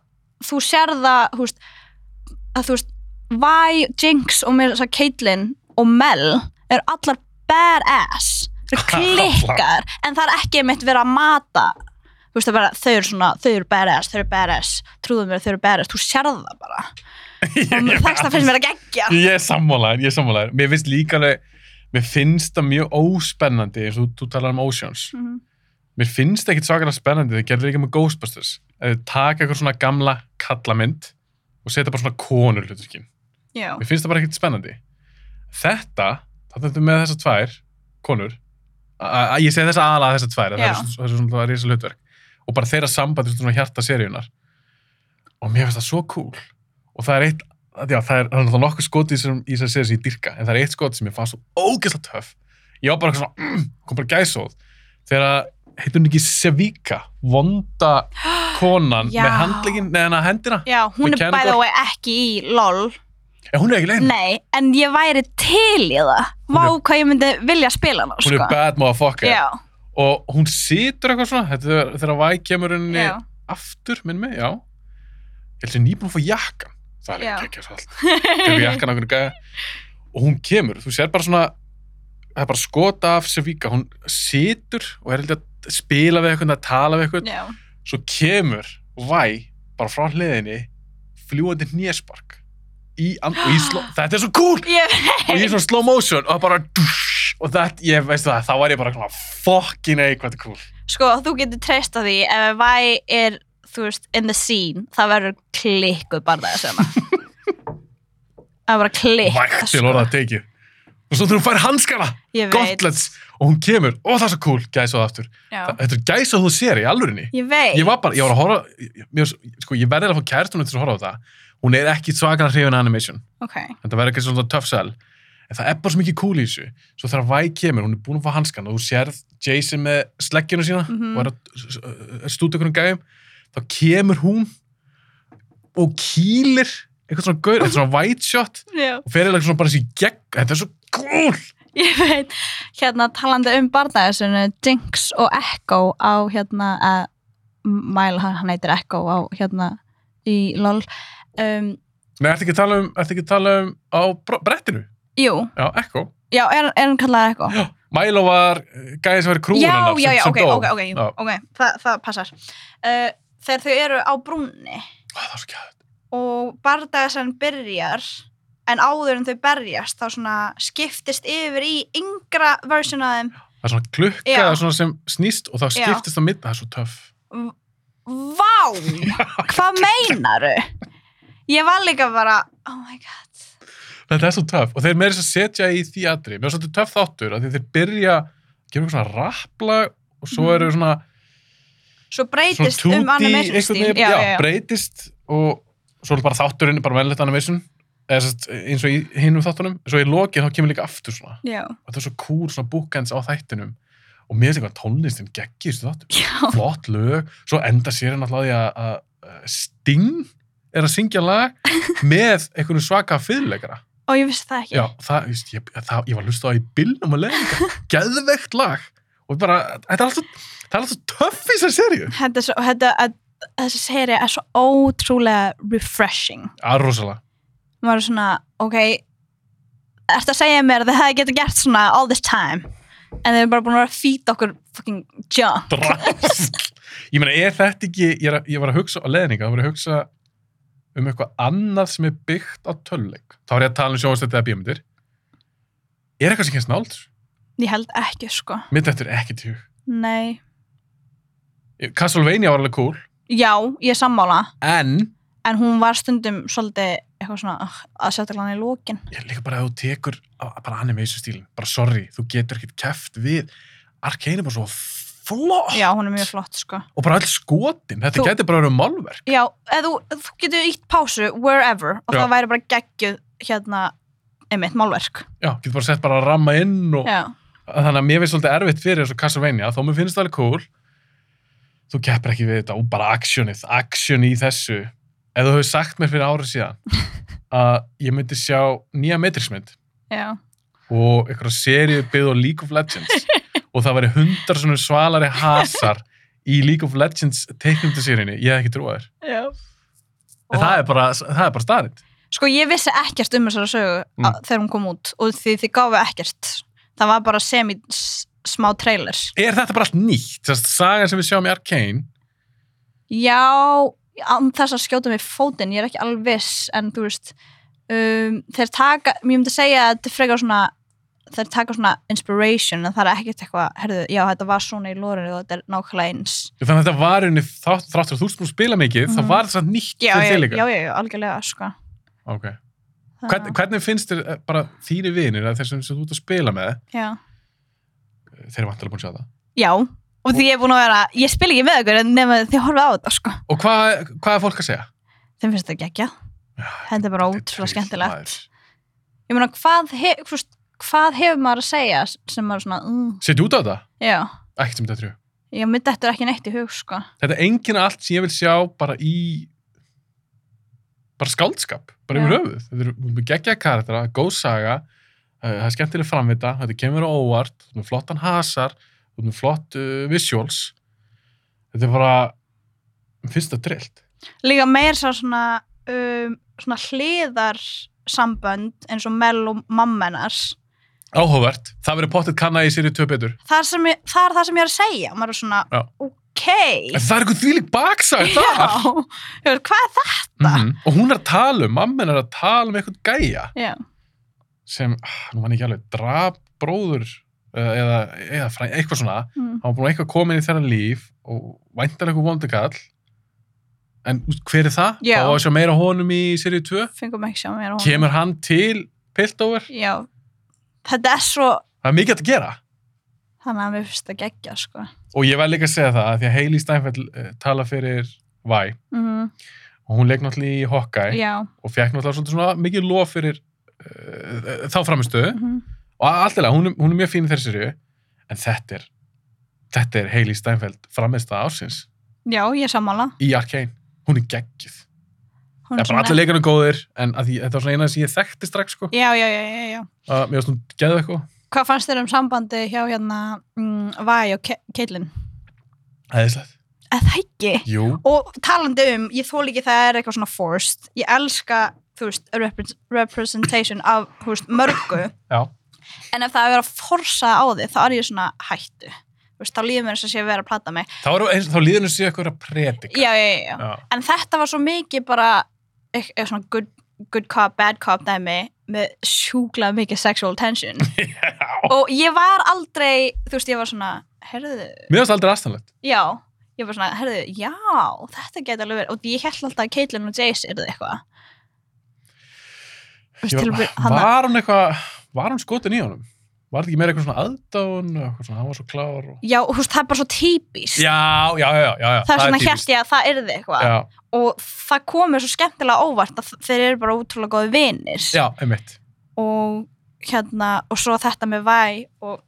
S2: þú sér það, þú veist, að þú veist, Vi, Jinx og mér, það Caitlyn og Mel eru
S1: <laughs>
S2: allar badass, eru klikkaðar, en það er ekki mitt verið að mata þú veist það bara, þau eru svona, þau eru badass, þau eru badass trúðu mér, þau eru badass, þú sérðu það bara og það finnst mér að gegja
S1: <laughs> Ég er sammálaður, ég er sammálaður. Mér finnst líka alveg, mér finnst það mjög óspennandi eins og þú- þú talar um Oceans. Mér finnst það ekkit svakalega spennandi, það gerði líka með Ghostbusters. Að þau taka eitthvað svona gamla kallamynd og setja bara svona konur hluturkinn.
S2: já,
S1: Mér finnst það bara ekkit spennandi. Þetta, það þetta með þessar tvær konur, a- a- ég segi þess aðalega þessar tvær, að það
S2: Já.
S1: er svona, það er svona risa hlutverk. Og bara þeirra sambandi svona hjarta seríunar. Og mér finnst það svo cool. Og það er eitt, já, það er, það er náttúrulega nokkuð skot í þessum- í þessar seríu sem ég dyrka, en það er eitt skot sem ég fannst svo ógeðslega töff. Ég var bara eitthvað svona, mm, kom bara gæsóð. Þegar heitur hún ekki Sevika, vonda <gasps> konan
S2: Já.
S1: með handlegin, neðan að hendina.
S2: já, hún er
S1: Mechanical.
S2: by the way ekki í LOL
S1: En hún er ekki leiðin.
S2: nei, en ég væri til í það
S1: Hún
S2: vá
S1: er-
S2: hvað ég myndi vilja spila hana
S1: Hún
S2: sko.
S1: er bad motherfucker.
S2: já,
S1: og hún situr eitthvað svona þetta er þegar væg kemur henni
S2: já,
S1: aftur minn mig, já ég held sem nýbúin að fá jakkan það er
S2: Já.
S1: ekki ekki svo allt Tekur jakkan af einhverju gæja. og hún kemur, þú sér bara svona það er bara skota af Sevika hún situr og er held ég að spila við eitthvað, að tala við eitthvað
S2: já
S1: svo kemur væg bara frá hliðinni fljúandi néspark í, and- og í
S2: <gasps>
S1: sló, þetta er svo cool
S2: ég
S1: og ég er svona slow motion og bara dush, og það, ég veist það, þá var ég bara svona fucking ei, hvað þetta er cool
S2: sko, þú getur treysta því ef væ er, þú veist, in the scene það verður klikkuð barðaði sena
S1: <laughs>
S2: það er bara klikk
S1: vægt til orða að tekið og svo þurfum fær hanskana,
S2: ég veit,
S1: gauntlets og hún kemur, ó það er svo cool, gæsa það aftur
S2: já,
S1: Þa- þetta er gæsa þú sér í alvörinni
S2: ég veit
S1: ég var bara, ég var að horfa ég- mér, sko, ég verði að fá kærtunum til að horfa á það hún er ekki svakar hrifin af animation
S2: ok,
S1: þetta verður ekki svona tough sell en það er bara svo mikið cool í þessu svo þegar væg kemur, hún er búin að fá hanskan og þú sérð Jason með sleggjuna sína
S2: Mhm.
S1: og er að- er stúta einhvern gæjum þá kemur hún og kýlir eitthvað svona gaur, eitthvað svona white shot
S2: já,
S1: og fer eða svona bara þessi gegn þetta er svo cool
S2: ég veit hérna talandi um barðaði Jinx og Echo á hérna að Mæl, hann hann heitir Echo á hérna í LOL um,
S1: Nei, ertu ekki að tala um, ertu ekki að tala um á br- brettinu?
S2: jú,
S1: Já, Echo
S2: já, er, er hann kallaði Echo?
S1: Já, Milo var gæði sem verið krúin
S2: já,
S1: hennar
S2: já,
S1: sem,
S2: já,
S1: sem
S2: ok,
S1: dó.
S2: ok, ok, jú,
S1: Já,
S2: ok, það, það passar uh, þegar þau eru á brúnni
S1: Ó, það var svo gæðið
S2: og bardagasinn byrjar en áður en þau berjast þá svona skiptist yfir í yngra version af þeim
S1: Það er svona klukka
S2: Já.
S1: eða svona sem snýst og það
S2: Já.
S1: skiptist á mitt, það er svo töff <laughs>
S2: Vá, hvað meinaru? Ég var líka bara oh my god,
S1: Þetta er svo töff og þeir meira þess að setja í því atri Mér er svolítið töff þáttur að þeir byrja gera eitthvað svona rappla og svo
S2: Mhm.
S1: eru svona,
S2: svo
S1: svona
S2: breytist
S1: 2D
S2: um animation
S1: einhvern
S2: stíl
S1: veginn,
S2: já,
S1: já,
S2: já, já.
S1: breytist og svo er bara þátturinn bara venlegt animation eða sest, eins og í hinum þáttunum svo í lokið þá kemur líka aftur svona
S2: já,
S1: og það er svo cool svona bookends á þættinum og mér finnst eitthvað tónlistin geggjist þáttum
S2: já,
S1: flott lög, svo enda sér hann alltaf á því að- að að Sting er að syngja lag
S2: <laughs>
S1: með einhvern svaka fyrirleikara
S2: og ég vissi það ekki
S1: já, það, ég, veist, ég, það, ég var að hlusta á það í bylnum að
S2: <laughs>
S1: leiðinga, geðveikt lag og bara, þetta er alltaf það er alltaf töff í þessar serju
S2: þetta, er svo, þetta að, þessi seri er svo ótrúlega refreshing
S1: að rosalega,
S2: maður er svona, ok ertu að segja mér að það hefði getið gert svona all this time en þeir eru bara búin að vera að fýta okkur fucking junk
S1: drast ég meina, er þetta ekki, ég, er, að- ég var að hugsa á leiðinga, þá var ég að hugsa um eitthvað annað sem er byggt á tölleik þá var ég að tala um sjóðastættið að bíómyndir er eitthvað sem kennst nált
S2: ég held ekki sko,
S1: mitt eftir ekki til
S2: nei
S1: Castlevania var alveg cool
S2: já, ég er sammála,
S1: en
S2: en hún var stundum svolítið eitthvað svona ugh, að setja hann í lókin
S1: ég er líka bara að þú tekur á- bara animation stílin, bara sorry, þú getur ekkert keft við Arcane er bara svo flott
S2: já, hún er mjög flott sko
S1: og bara all skotin, þetta
S2: Þú-
S1: gæti bara að vera málverk
S2: já, eða þú, þú getur ítt pásu wherever og
S1: Já.
S2: það væri bara geggjuð hérna, einmitt, málverk
S1: já, getur bara sett bara að ramma inn og,
S2: já,
S1: þannig að mér finnst svolítið erfitt fyrir þessu Castlevania, þó mér finnst það alveg cool þú keppir ekki við þetta og bara actionið, action í þessu ef þú hefur sagt mér fyrir árið
S2: <laughs>
S1: síðan að ég myndi sjá nýja metrismynd
S2: já,
S1: og einhverja seríu byggð á League of
S2: <laughs>
S1: Legends og það væri hundar svona svalari hasar í League of Legends teiknumta seríunni, ég hef ekki trúið þér
S2: já.
S1: en það er bara, það er bara starrið
S2: Sko ég vissi ekkert um þessara sögu
S1: Mm.
S2: mm. þegar hún kom út og því þið gáfu ekkert. Það var bara semi s- smá trailer.
S1: er þetta bara allt nýtt, þess að sagan sem við sjáum í Arcane
S2: Já, án þess að skjóta mig í fótinn, ég er ekki alveg viss en þú veist um, þeir taka, mér myndi segja að þetta er frekar svona þeir taka svona inspiration en það er ekkert eitthvað, herðu, já þetta var svona í lórinu og þetta er nákvæmlega eins
S1: Þannig að þetta var unni þrátt þrátt fyrir að þú spilur spila mikið, mm.
S2: Mhm.
S1: það var þetta nýtt
S2: Já,
S1: fyrir
S2: já,
S1: þig
S2: já,
S1: líka.
S2: já, já, algjörlega sko.
S1: Ok.
S2: Það-
S1: Hvern, hvernig finnst þér eh, bara þýri vinir að þessum sem þú ert að spila með,
S2: já.
S1: eh, þeir eru vantilega búin að sjá það.
S2: já, og því ég er búin að vera ég spil ekki með ykkur en nema þið horfa á þetta sko.
S1: Og hvað, hvað er fólk að segja?
S2: þeim finnst þetta geggjað þetta er bara
S1: Þetta er
S2: ótrúlega
S1: trist,
S2: skemmtilegt
S1: maður.
S2: ég meina, hvað, hef, fúst, hvað hefur maður að segja sem maður svona, mm,
S1: Settu út á þetta?
S2: já
S1: Ekkert sem þetta trú.
S2: Já, mér dettur ekki neitt í hug, sko.
S1: Þetta er enginn allt sem ég vil sjá bara í bara skáldskap, bara yfir
S2: Já.
S1: höfuð. Þetta eru geggjaða karaktera, góð saga, eh, það er skemmtileg framvita, þetta kemur á óvart, þú ert með flottan hasar, þú ert með flott uh, visuals. Þetta er bara, mér finnst þetta drillt.
S2: Líka meir sá svona, um, svona hliðarsambönd eins og Mel og mammenars.
S1: Áhugavert, það verður pottet kanna í sér í tvö betur.
S2: Það er, sem ég, það er það sem ég er að segja. Maður er svona,
S1: Já.
S2: ok.
S1: En það er eitthvað þvílík baksaga
S2: Já,
S1: þar.
S2: ég veit, hvað er það?
S1: Mhm. Og hún er að tala um, mammen er að tala um eitthvað gæja
S2: Já,
S1: sem, ah, nú mann ekki alveg, drap bróður eða, eða, eða fræ, eitthvað svona.
S2: mm.
S1: hann var búin að eitthvað koma inn í þeirra líf og væntar eitthvað vondakall en úst, hver er það?
S2: Já.
S1: Þá var sjá meira af honum í seríu 2
S2: fengum ekki sjá mér á honum.
S1: kemur hann til Piltover
S2: Já, þetta er svo,
S1: það er mikið hægt að gera
S2: þannig að mér finnst það geggja, sko.
S1: og ég verð líka að segja það að því að Hailey Steinfeld eh, tala fyrir Væ
S2: Mm.
S1: og hún leik náttúrulega í Hawkeye
S2: Já,
S1: og fekk náttúrulega svolítið svona mikið lof fyrir uh, þá framistöðu
S2: mm.
S1: og alltaf hún, er- hún er mjög fín í þeirra seríu en þetta er þetta er Hailey Steinfeld framistað ársins
S2: já, ég er sammála.
S1: í Arkane hún er geggjuð
S2: Hún
S1: Það
S2: er
S1: er bara
S2: svona-
S1: allir leikarnir góðir, en að því, þetta var svona eina sem ég þekkti strax, sko.
S2: Já, já, já, já, já.
S1: Uh, mér varst hún geðu eitthvað.
S2: Hvað fannst þér um sambandi hjá hérna mm, Væ og Ke- Caitlyn?
S1: Æðislegt.
S2: Eða það ekki?
S1: Jú.
S2: og talandi um, ég þól ekki það er eitthvað svona forced, ég elska þú veist, repre- representation af þú veist, mörgu,
S1: Já.
S2: en ef það er að vera að forsa á því, þá er ég svona hættu, þú veist, þá líður mér þess að sé að vera að plata mig,
S1: Þá, eru, eins, þá líður henni séu eitthvað að predika.
S2: já, já, já, já
S1: Já.
S2: en þetta var svo mikið bara eit- eitthvað svona good, good cop, bad cop dæmi, með sjúklað mikið sexual tension,
S1: Já.
S2: og ég var aldrei, þú veist, ég var svona herðu,
S1: Mér varst aldrei aðstæðanlegt.
S2: já ég var svona, herðu, já, þetta geti alveg verið og ég held alltaf að Caitlyn og Jace er eitthvað Veist, til að byrja- hann-
S1: Var hún eitthvað, var hún skotin í honum? Var þetta ekki meira eitthvað svona aðdáun og eitthvað svona, hann var svo klár og...
S2: Já, húst, það er bara svo típist
S1: Já, já, já, já, já.
S2: Það er svona
S1: típist.
S2: hérst ég að það yrði eitthvað
S1: Já,
S2: Og það komið svo skemmtilega óvart að þeir eru bara útrúlega góði vinir
S1: já, einmitt.
S2: Og hérna, og svo þetta með Væ og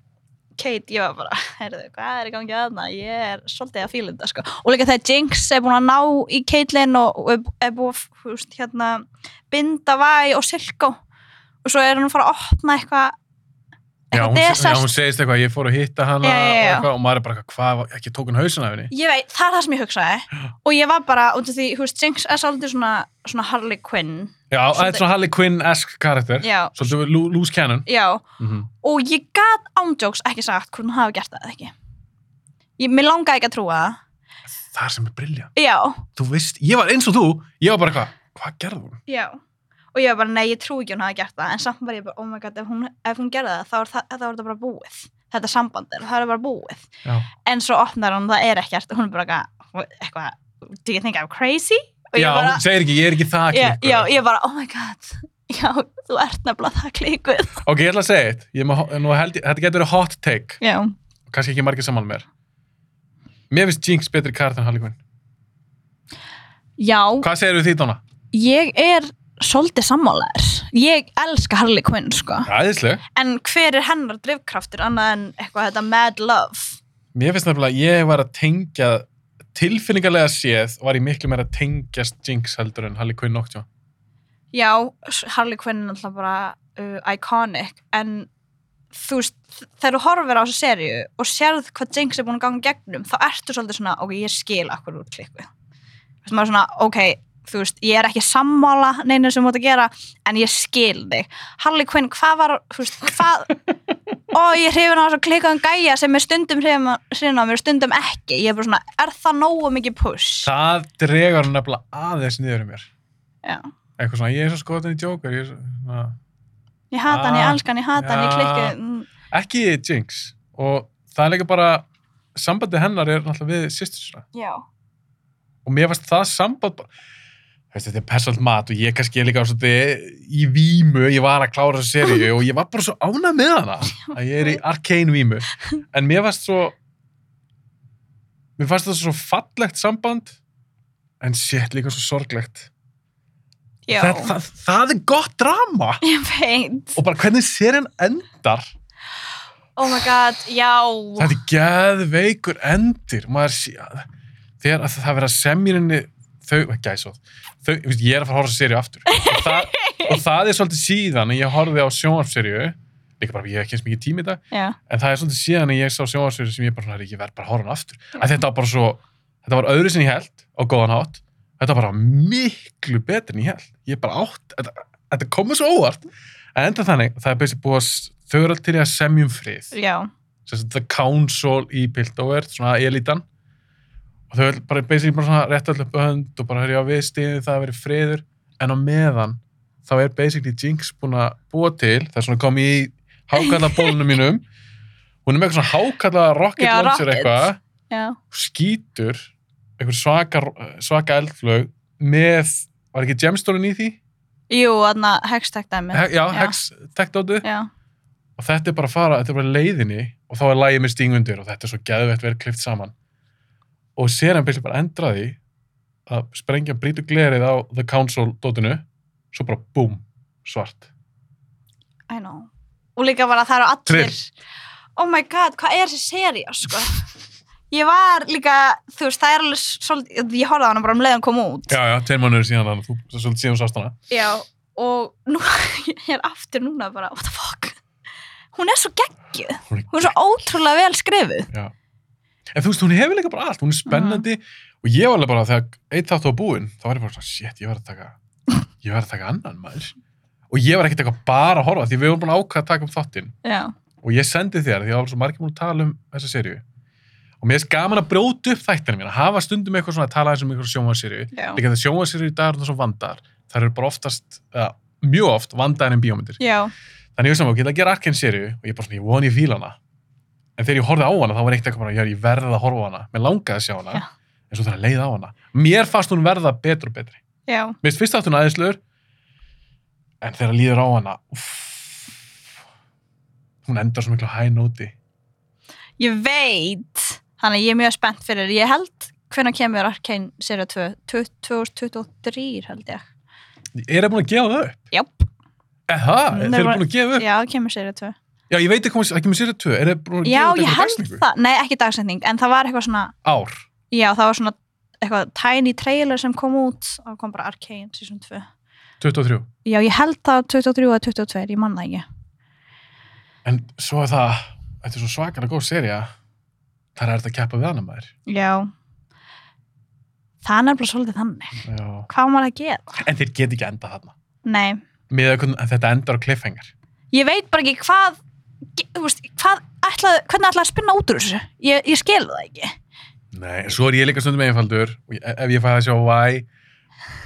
S2: Kate, ég var bara, heyrðu, hvað er í gangi aðna? Ég er svolítið að fíla þetta, sko. Og líka þegar Jinx er búin að ná í Caitlyn og og er, er búin að, húst, hérna, binda Væ og Silko. Og svo er hann að fara að opna eitthvað,
S1: Já
S2: eitthvað
S1: hún, já, hún
S2: desert.
S1: segist eitthvað, ég fór að hitta hana
S2: Já, já,
S1: og
S2: já.
S1: eitthvað og maður er bara eitthvað, hvað, var- ekki tók hún hausin af henni?
S2: Ég veit, það er það sem ég hugsaði og ég var bara, út af því, hú veist, Jinx er svolítið svona, svona Harley Quinn
S1: Já, það er
S2: Svolítið-
S1: svona Harley Quinn-esk karakter,
S2: Já,
S1: svolítið lú- loose cannon.
S2: já
S1: Mm
S2: og ég gat ándjóks ekki sagt hvernig hún hafi gert það eða ekki ég, Mér langaði ekki að trúa það
S1: Það er sem er brilljant.
S2: Já,
S1: Þú veist, ég var eins og þú, ég var bara eitthvað, hvað gerði hún?
S2: já og ég var bara, nei, ég trúi ekki að hún hafi gert það en samt var ég bara, oh my god, ef hún, ef hún gerði það þá er, það, þá er þetta bara búið þetta samband er, það er bara búið
S1: Já.
S2: en svo opnar hún, það er ekkert hún er bara eitthvað, eitthvað, do you think I'm crazy? Og ég
S1: Já,
S2: bara-
S1: hún segir ekki, ég er ekki það
S2: já,
S1: klikkuð.
S2: já, ég bara, oh my god <laughs> já, þú ert nefnilega það klíkuð
S1: Ok, ég ætla að segja eitt, ég er með, nú held ég, þetta getur verið hot take,
S2: já,
S1: kannski ekki margir saman mér. Mér finnst Jinx betri karakter en Harley Quinn.
S2: já
S1: Hvað segir við því, Dóna?
S2: ég er svolítið sammálaður ég elska Harley Quinn sko
S1: Æðisleg.
S2: en hver er hennar drivkraftur annað en eitthvað þetta mad love
S1: Mér finnst nefnilega að ég var að tengja, tilfinningarlega séð, var ég miklu meira að tengjast Jinx heldur en Harley Quinn noktjá.
S2: já, Harley Quinn er alltaf bara uh, iconic en þú veist, þegar þú horfir á þessu serju og sérð hvað Jinx er búin að ganga í gegnum þá ertu svolítið svona, ok, ég skil akkur úr klikku veist, maður er svona, ok, þú veist, ég er ekki sammála <laughs> neina sem þú mátt að gera, en ég skil þig. Harley Quinn, hvað var, þú veist, hvað, ó ég hrifin á þessu klikaðan gæja sem er stundum hrifin á mér og stundum ekki ég er bara svona, er það nógu mikið push
S1: Það dregur hann nefnilega aðeins niður um mér.
S2: Já.
S1: Eitthvað svona, ég er svo skotin í Joker, ég er svo... Na.
S2: ég hata hann, ég
S1: Ah.
S2: elska hann, ég hata hann, ég
S1: Ja.
S2: klikki mm,
S1: Ekki Jinx. Og það er líka bara, sambandi hennar er náttúrulega við sýstur svona.
S2: já,
S1: Og mér fannst það samband bara... Veist, þetta er persalt mat og ég kannski er líka á svolítið í vímu, ég var að klára þessu seríu og ég var bara svo ánað með hana að ég er í arcane vímu. En mér fannst svo... Mér fannst það svo fallegt samband en sétt líka svo sorglegt.
S2: já
S1: það, það, það er gott drama
S2: <laughs> ég veit,
S1: og bara hvernig serien endar
S2: oh my god, já
S1: þetta er geðveikur endir maður sé að þegar að það verið að semjurinni þau, gæsóð, þau, ég, veist, ég er að fara að horfa sér aftur og það, og það er svolítið síðan að ég horfið á sjónvarpserju líka bara, ég hef ekki eins mikið tími í dag
S2: já,
S1: en það er svolítið síðan að ég sá sjónvarpserju sem ég bara, svona, ég verð bara að horfa hann aftur að þetta var bara svo, þetta var öðru sem ég held á góðan hátt, þetta var bara miklu betur en ég held, ég bara átt þetta, þetta komið svo óvart en enda þannig, það er basically búið að s- þau eru alltaf til í að semjum frið
S2: já,
S1: sem sagt, The Council í Piltover, svona elitan og þau eru bara basically bara svona rétt öll upp hönd og bara hörja á viðstíði það að vera friður, en á meðan þá er basically Jinx búin að búa til, það er svona komið í hákalla bólunum mínum hún er með eitthvað svona hákalla rocket
S2: Já,
S1: launcher
S2: rocket.
S1: eitthvað
S2: já
S1: skýtur eitthvað svaka, svaka eldflög með, var ekki gemstónin í því?
S2: jú, þarna, hextag dæmi
S1: He, já,
S2: Já.
S1: hex tekdótu
S2: já,
S1: og þetta er bara að fara, þetta er bara leiðinni og þá er lægið með stingundir og þetta er svo geðvett verið klift saman og sér hann byrja bara að endra því að sprengja brýtu glerið á The Council dótinu, svo bara búm svart.
S2: I know og líka bara það eru allir
S1: Tryll.
S2: oh my god, hvað er þessi seria sko ég var líka, þú veist, það er alveg svolítið, ég horfði á hana bara um leiðan kom út
S1: Já, já, tveir mánuður síðan hann, þú svo svolítið síðan þú sást hana.
S2: Já, og nú, <laughs> ég er aftur núna bara, what the fuck hún er svo geggjuð,
S1: Hún er
S2: hún er svo ótrúlega vel skrifuð
S1: Já. En þú veist, hún hefur líka bara allt, hún er spennandi og ég var alveg bara, þegar eitt þátt á búin, þá var ég bara svona, shit, ég var að taka, ég var að taka annan maður. Og ég var ekki að taka bara að horfa, því við vorum búin að ákvæða að taka um þáttinn.
S2: Já,
S1: og ég sendi þér því að það var svo margir múin að tala um þessa serju og mér finnst gaman að brjóta upp þættinu mína hafa stundum eitthvað svona að tala eins um eitthvað sjónvarserju
S2: já,
S1: líka það sjónvarserju í dag er það svo vandar það eru bara oftast, uh, mjög oft vandar en bíómyndir
S2: já,
S1: þannig ég veist að ég ætla að gera Arkane serju og ég bara svona, ég voni ég fíla hana en þegar ég horfði á hana þá var eitt eitthvað bara, "Já, ég verði að horfa á hana mér langaði að sjá hana,
S2: Já.
S1: en svo þarf að leiða á hana mér fannst hún verða betur og betri
S2: já
S1: Mér finnst fyrst aftur aðeinslur en þegar líður á hana uff, hún endar svo miklu á high noti
S2: Ég veit, þannig að ég er mjög spennt fyrir ég held, hvenær kemur Arkane seria 2, 2023 held ég
S1: Er það búin að gefa það upp?
S2: Jáp,
S1: Eha,
S2: Nei,
S1: þeir eru
S2: bara-
S1: búin að gefa upp?
S2: já, kemur seria 2
S1: Já, ég veit ekki hvað ekki með sér að tvö Er það búin að
S2: Já,
S1: gefa upp
S2: ég
S1: einhverja
S2: held
S1: dagsetningu?
S2: það, nei ekki dagsetning en það var eitthvað svona,
S1: Ár
S2: já það var svona eitthvað tiny trailer sem kom út og kom bara Arcane season 2
S1: 23
S2: Já, ég held það 23 eða 22, ég manna ekki
S1: En svo er það Þetta er svo svakalega góð serja Það er þetta að keppa við hana maður
S2: Já Það er nefnilega svolítið þannig
S1: Já.
S2: Hvað á maður að gera?
S1: En þeir get ekki enda þarna
S2: Nei,
S1: Með að hvernig- þetta endar á cliffhanger
S2: ég veit bara ekki hvað ge- þú veist, hvað ætlaði, hvernig ætlaði að spinna út úr þessu Ég, ég skil það ekki
S1: Nei, en svo er ég líka stundum einfaldur og ég- ef ég fæði að sjá væ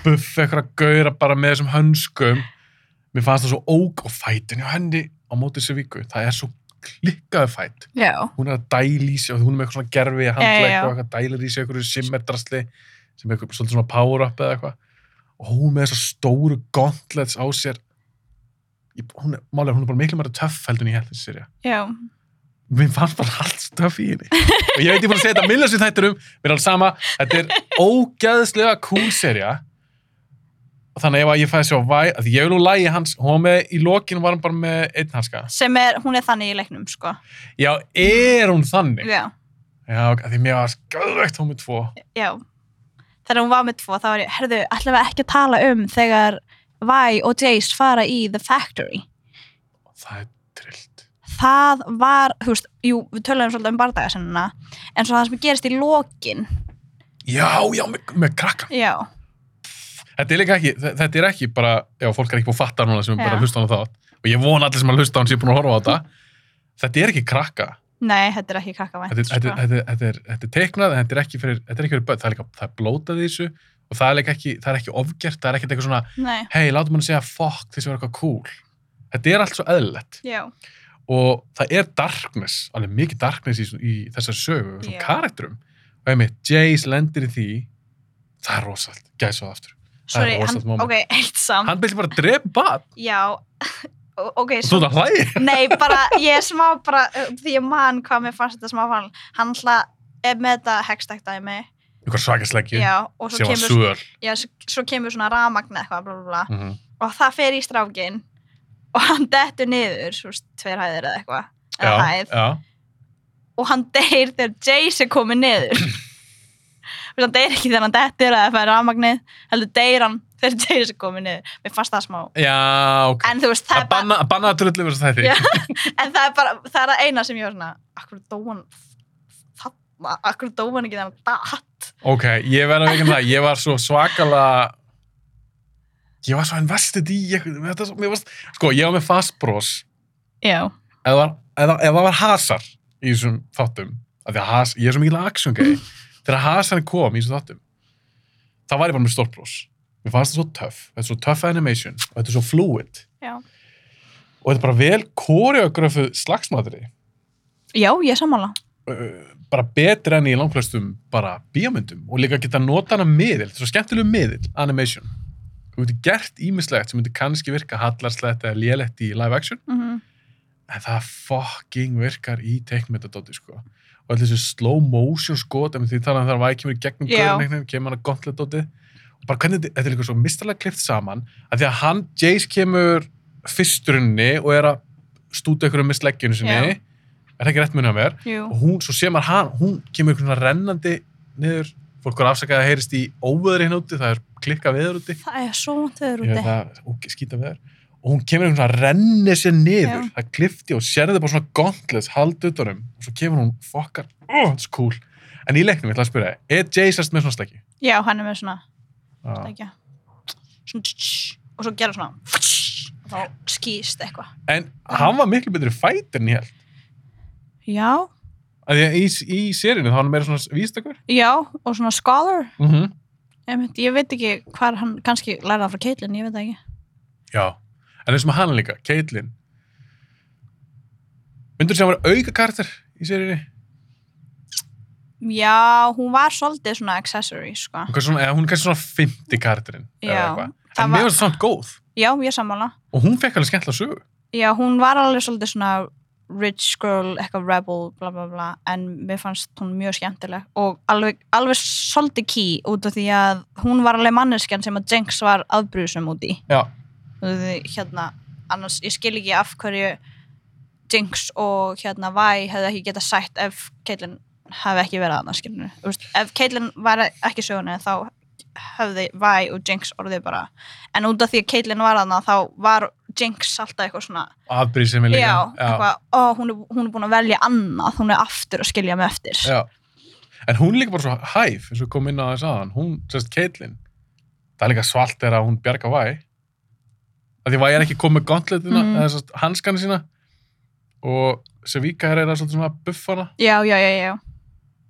S1: buff eitthvað að gauðra bara með þessum hönskum mér fannst það svo óg og fætin hjá henni á móti þessu viku það er svo klikkaðu fæt
S2: Já,
S1: hún er að dæla í sig og hún er með eitthvað svona gerfi
S2: Já,
S1: handleg
S2: já, já.
S1: og eitthvað dælir í sig eitthvað simmerdrasli sem er eitthvað svolítið svona power up eða eitthvað og hún með þessar stóru gauntlets á sér ég, hún, er, málega, hún er bara miklu meira töff heldur en ég held þessi serja
S2: já,
S1: mér fannst bara allt stöf í henni og ég veit ég búin að segja þetta milljón sem þættur um mér er alveg sama, þetta er ógæðslega cool serja og þannig ef að ég fæði sjá væ að ég vil úr lægi hans, hún var með í lokinu var hann bara með einn hanska
S2: sem er, hún er þannig í leiknum sko
S1: já, er hún þannig?
S2: Já,
S1: já, ok, að því mér var skauðvegt hún með tvo
S2: já Þegar hún var með tvo, þá var ég, herðu, ætlum við ekki að tala um þegar Vi og Jace fara í The Factory
S1: það er trillt
S2: það var, þú veist, jú, við töluðum svolítið um bardagasennina, en svo það sem gerist í lokin,
S1: já, já, með, með krakkan
S2: já,
S1: þetta er líka ekki, þe- þetta er ekki bara já, fólk er ekki búin að fatta núna sem er bara
S2: Já.
S1: að hlusta hann á það og ég vona allir sem að hlusta hann sé búin að horfa á þetta þetta er ekki krakka
S2: Nei, þetta er ekki sko. krakkavænt
S1: þetta er, þetta, er- þetta, er- þetta, er, þetta er teiknað en þetta er ekki fyrir, þetta er ekki fyrir börn það er líka, það er blótað í þessu og það er líka ekki, það er ekki ofgert, það er ekkert eitthvað svona
S2: Nei,
S1: hei, látum hann segja fuck því sem er eitthvað cool þetta er allt svo eðlilegt
S2: já,
S1: og það er darkness, alveg mikið darkness í, í þessar sögu, svona
S2: Já.
S1: karakterum og einmitt, Jace lendir í því það er rosalt, gæs og aftur Það er
S2: sorry, hann,
S1: rosalegt moment.
S2: ok, eitt samt
S1: hann byrði bara að drepa bad
S2: Já, ok,
S1: og þú ert að hlæja
S2: Nei, bara, ég er smá bara, uh, því ég man hvað mér fannst þetta smá fann, hann hlað er með þetta hegstækt dæmi,
S1: eitthvað svakasleggi
S2: já, og svo
S1: sem var
S2: kemur,
S1: sögur
S2: já, svo, svo kemur svona ramagn eitthvað, bla, bla, bla,
S1: mm -hmm.
S2: og það fer í strákin og hann dettur niður, svo veist, tveir hæðir eða eitthvað, eða
S1: já,
S2: hæð,
S1: já,
S2: og hann deyr þegar Jace er komið
S1: <coughs>
S2: niður. Þú veist, hann deyr ekki þegar hann dettur eða fær ramagnið, heldur deyr hann þegar Jace er komið niður. Mér fannst það smá.
S1: já, ok
S2: En þú veist, það
S1: að
S2: er bara,
S1: banna, banna að drullu verið þætti
S2: Já. En það er bara, það er að eina sem ég var svona, akkur dóan þarna, akkur dóan ekki þannig datt.
S1: ok, ég verði að veikin um það ég var svo svakala ég var svo invested í ég, þetta, er svo- mér varst, sko, ég var með fast bros
S2: Já.
S1: ef það var, ef það- ef það var hasar í þessum þáttum af því að has, ég er svo mikil action gay þegar hasan kom í þessum þáttum þá var ég bara með stórt bros mér fannst það svo töff, þetta er svo töff animation og þetta er svo fluid
S2: Já.
S1: og þetta er bara vel koreografuð slagsmadri
S2: Já, ég er sammála.
S1: uh, bara betur enn í langflestum bara bíamöndum og líka geta nota hana miðil, þetta er svo skemmtilegu miðil, animation. Þú getur gert ímislegt sem myndi kannski virka hallarslegt eða lélegt í live action,
S2: Mm
S1: en það fucking virkar í teiknmyndadóti, sko. Og allir þessi slow motion skot, ef því talaðan þar að væði kemur í gegnum
S2: Já.
S1: gaurinn einhvern veginn, kemur hann að gauntlet dótið. Og bara hvernig þetta, þetta er líka svo mistalega klift saman, að því að hann, Jace kemur fyrsturunni og er að stúta ykkur um mislegginu sinni,
S2: Já.
S1: er það ekki rétt munið að mér?
S2: Jú.
S1: og hún, svo sé maður hann, hún kemur einhvern svona rennandi niður, fólk var afsakað að heyrist í óveðri hérna úti, það er klikka veður úti,
S2: Það er svo vantöður
S1: ég veit
S2: úti.
S1: það, ok, skýta veður og hún kemur einhvern svona renni sér niður
S2: Já.
S1: það klifti og sérði bara svona gauntless hald utanum og svo kemur hún fokkar, oh, that's cool en í leiknum, ég ætla að spyrja, þig, er Jaysast með svona sleggi?
S2: Já, hann er með svona,
S1: Ah.
S2: ekki. Svona, tss, tss, og svo gerur svona, tss, og þá skýst eitthvað.
S1: en hann var miklu betri fætir en ég held
S2: Já.
S1: að því að í, í serinu þá var hann meira svona vístakur
S2: Já, og svona scholar.
S1: mm
S2: Einmitt, ég veit ekki hvað hann kannski læra það frá Caitlyn, ég veit það ekki.
S1: Já, en eins og með hann líka, Caitlyn Myndur sem var auka karakter í seríunni?
S2: Já, hún var svolítið svona accessory, sko.
S1: Hún kannski svona- eða Hún er kannski svona 50 karakterinn eða
S2: Já,
S1: eitthvað.
S2: það
S1: En mér
S2: var-
S1: var samt góð
S2: Já, ég er sammála.
S1: og hún fekk alveg skemmtilega sögu
S2: Já, hún var alveg svolítið svona rich girl, eitthvað rebel, bla bla bla, en mér fannst hún mjög skemmtileg og alveg, alveg svolítið key út af því að hún var alveg manneskjan sem að Jenks var aðbrúsum út í.
S1: Já,
S2: Þú veist, Því, hérna, annars, ég skil ekki af hverju Jenks og hérna Vi hefði ekki getað sætt ef Caitlyn hefði ekki verið annars, skilinu. Veist, ef Caitlyn var ekki í sögunni þá höfði Vi og Jenks orðið bara. En út af því að Caitlyn var þarna þá var Jenks alltaf eitthvað svona
S1: afbrýð sem ég líka
S2: já, eitthvað, ó, hún er, hún er búin að velja annað, hún er aftur að skilja mig eftir
S1: já. En hún er líka bara svo hæf eins og við komum inn á þess aðan hún, sérst Caitlyn Það er líka svalt þegar að hún bjarga væ að því væ er ekki komið gauntletina
S2: Mhm.
S1: mm. eða sérst hanskana sína og Sevika er eða svolítið svona að buffa hana
S2: já, já, já, já,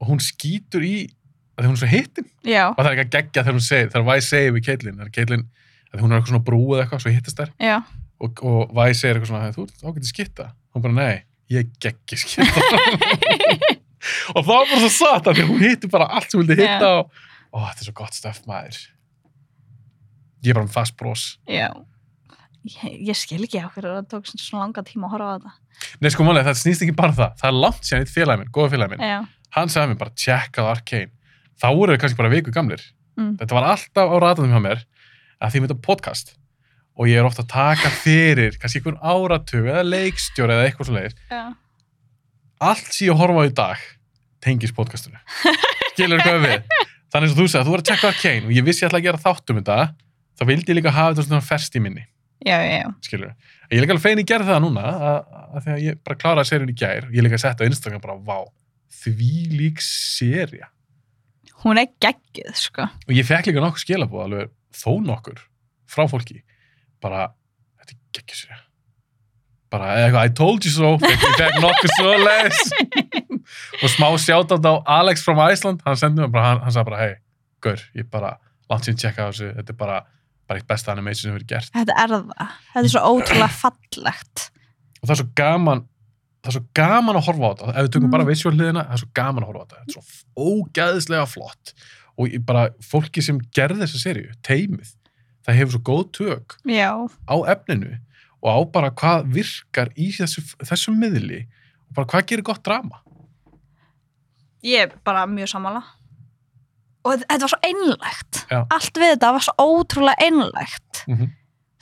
S1: og hún skýtur í að því hún er svo hittin
S2: já,
S1: og það er ekki að gegja þegar hún segir þegar Væ segir við Caitlyn þegar Caitlyn að hún er eitthvað svona brúið eitthvað svo hittist þær
S2: já.
S1: og, og Væ segir eitthvað svona þú ert ágætið skitta hún bara nei ég geggi skitta og það var bara svo satt af því að hún hitti bara allt sem hún vildi hitta
S2: Já.
S1: og ó, þetta er svo gott stöf maður ég er bara með fast bros
S2: já. Ég, ég skil ekki á hverju það tók svona langa tíma að horfa á þetta
S1: nei sko málega það snýst ekki bara um það það er langt sér eitt félagi minn, góða félagi minn
S2: já,
S1: hann sagði mér bara tjekkað Arkane þá voru þau kannski bara viku gamlir
S2: Mm.
S1: þetta var alltaf á ratanum hjá mér að því ég myndi á podcast og ég er ofta að taka fyrir kannski einhvern áratug eða leikstjóri eða eitthvað svo leiðis
S2: já,
S1: allt sem ég horfa á í dag tengis podcastinu skilur hvað við þannig eins og þú sagði, þú voru að tjekka Arkane og ég vissi ég ætla að gera þátt um þetta þá vildi ég líka hafa þetta svona ferst í minni
S2: já, já, já.
S1: skilur ég er líka alveg fein í gerð það núna að, að því að ég bara kláraði seríun í gær ég er líka að setja á Instagram bara, vá því lík seria
S2: hún er geggið, sko
S1: og ég fekk líka nokkur skilabóð alveg þó nokkur frá fólki bara, þetta er geggjusería bara eitthvað, I told you so fekk ég fekk nokkuð svo les og smá sjátat á Alex from Iceland hann sendi mér bara, hann, hann sagði bara hei, gaur, ég bara, langt síðan tjekka á þessu þetta er bara, bara eitt besta animation sem hefur verið gert
S2: Þetta er það. Þetta er svo ótrúlega fallegt.
S1: og það er svo gaman það er svo gaman að horfa á þetta ef við tökum
S2: Mm.
S1: bara visual hliðina, það er svo gaman að horfa á þetta þetta er svo ógæðislega flott og ég bara, fólki sem gerði þessa seríu teimið, það hefur svo góð tök
S2: Já.
S1: á efninu og á bara hvað virkar í þessu, þessum miðli og bara hvað gerir gott drama
S2: Ég er bara mjög sammála. Og þetta- þetta var svo einlægt.
S1: Já.
S2: Allt við þetta var svo ótrúlega einlægt.
S1: Mhm.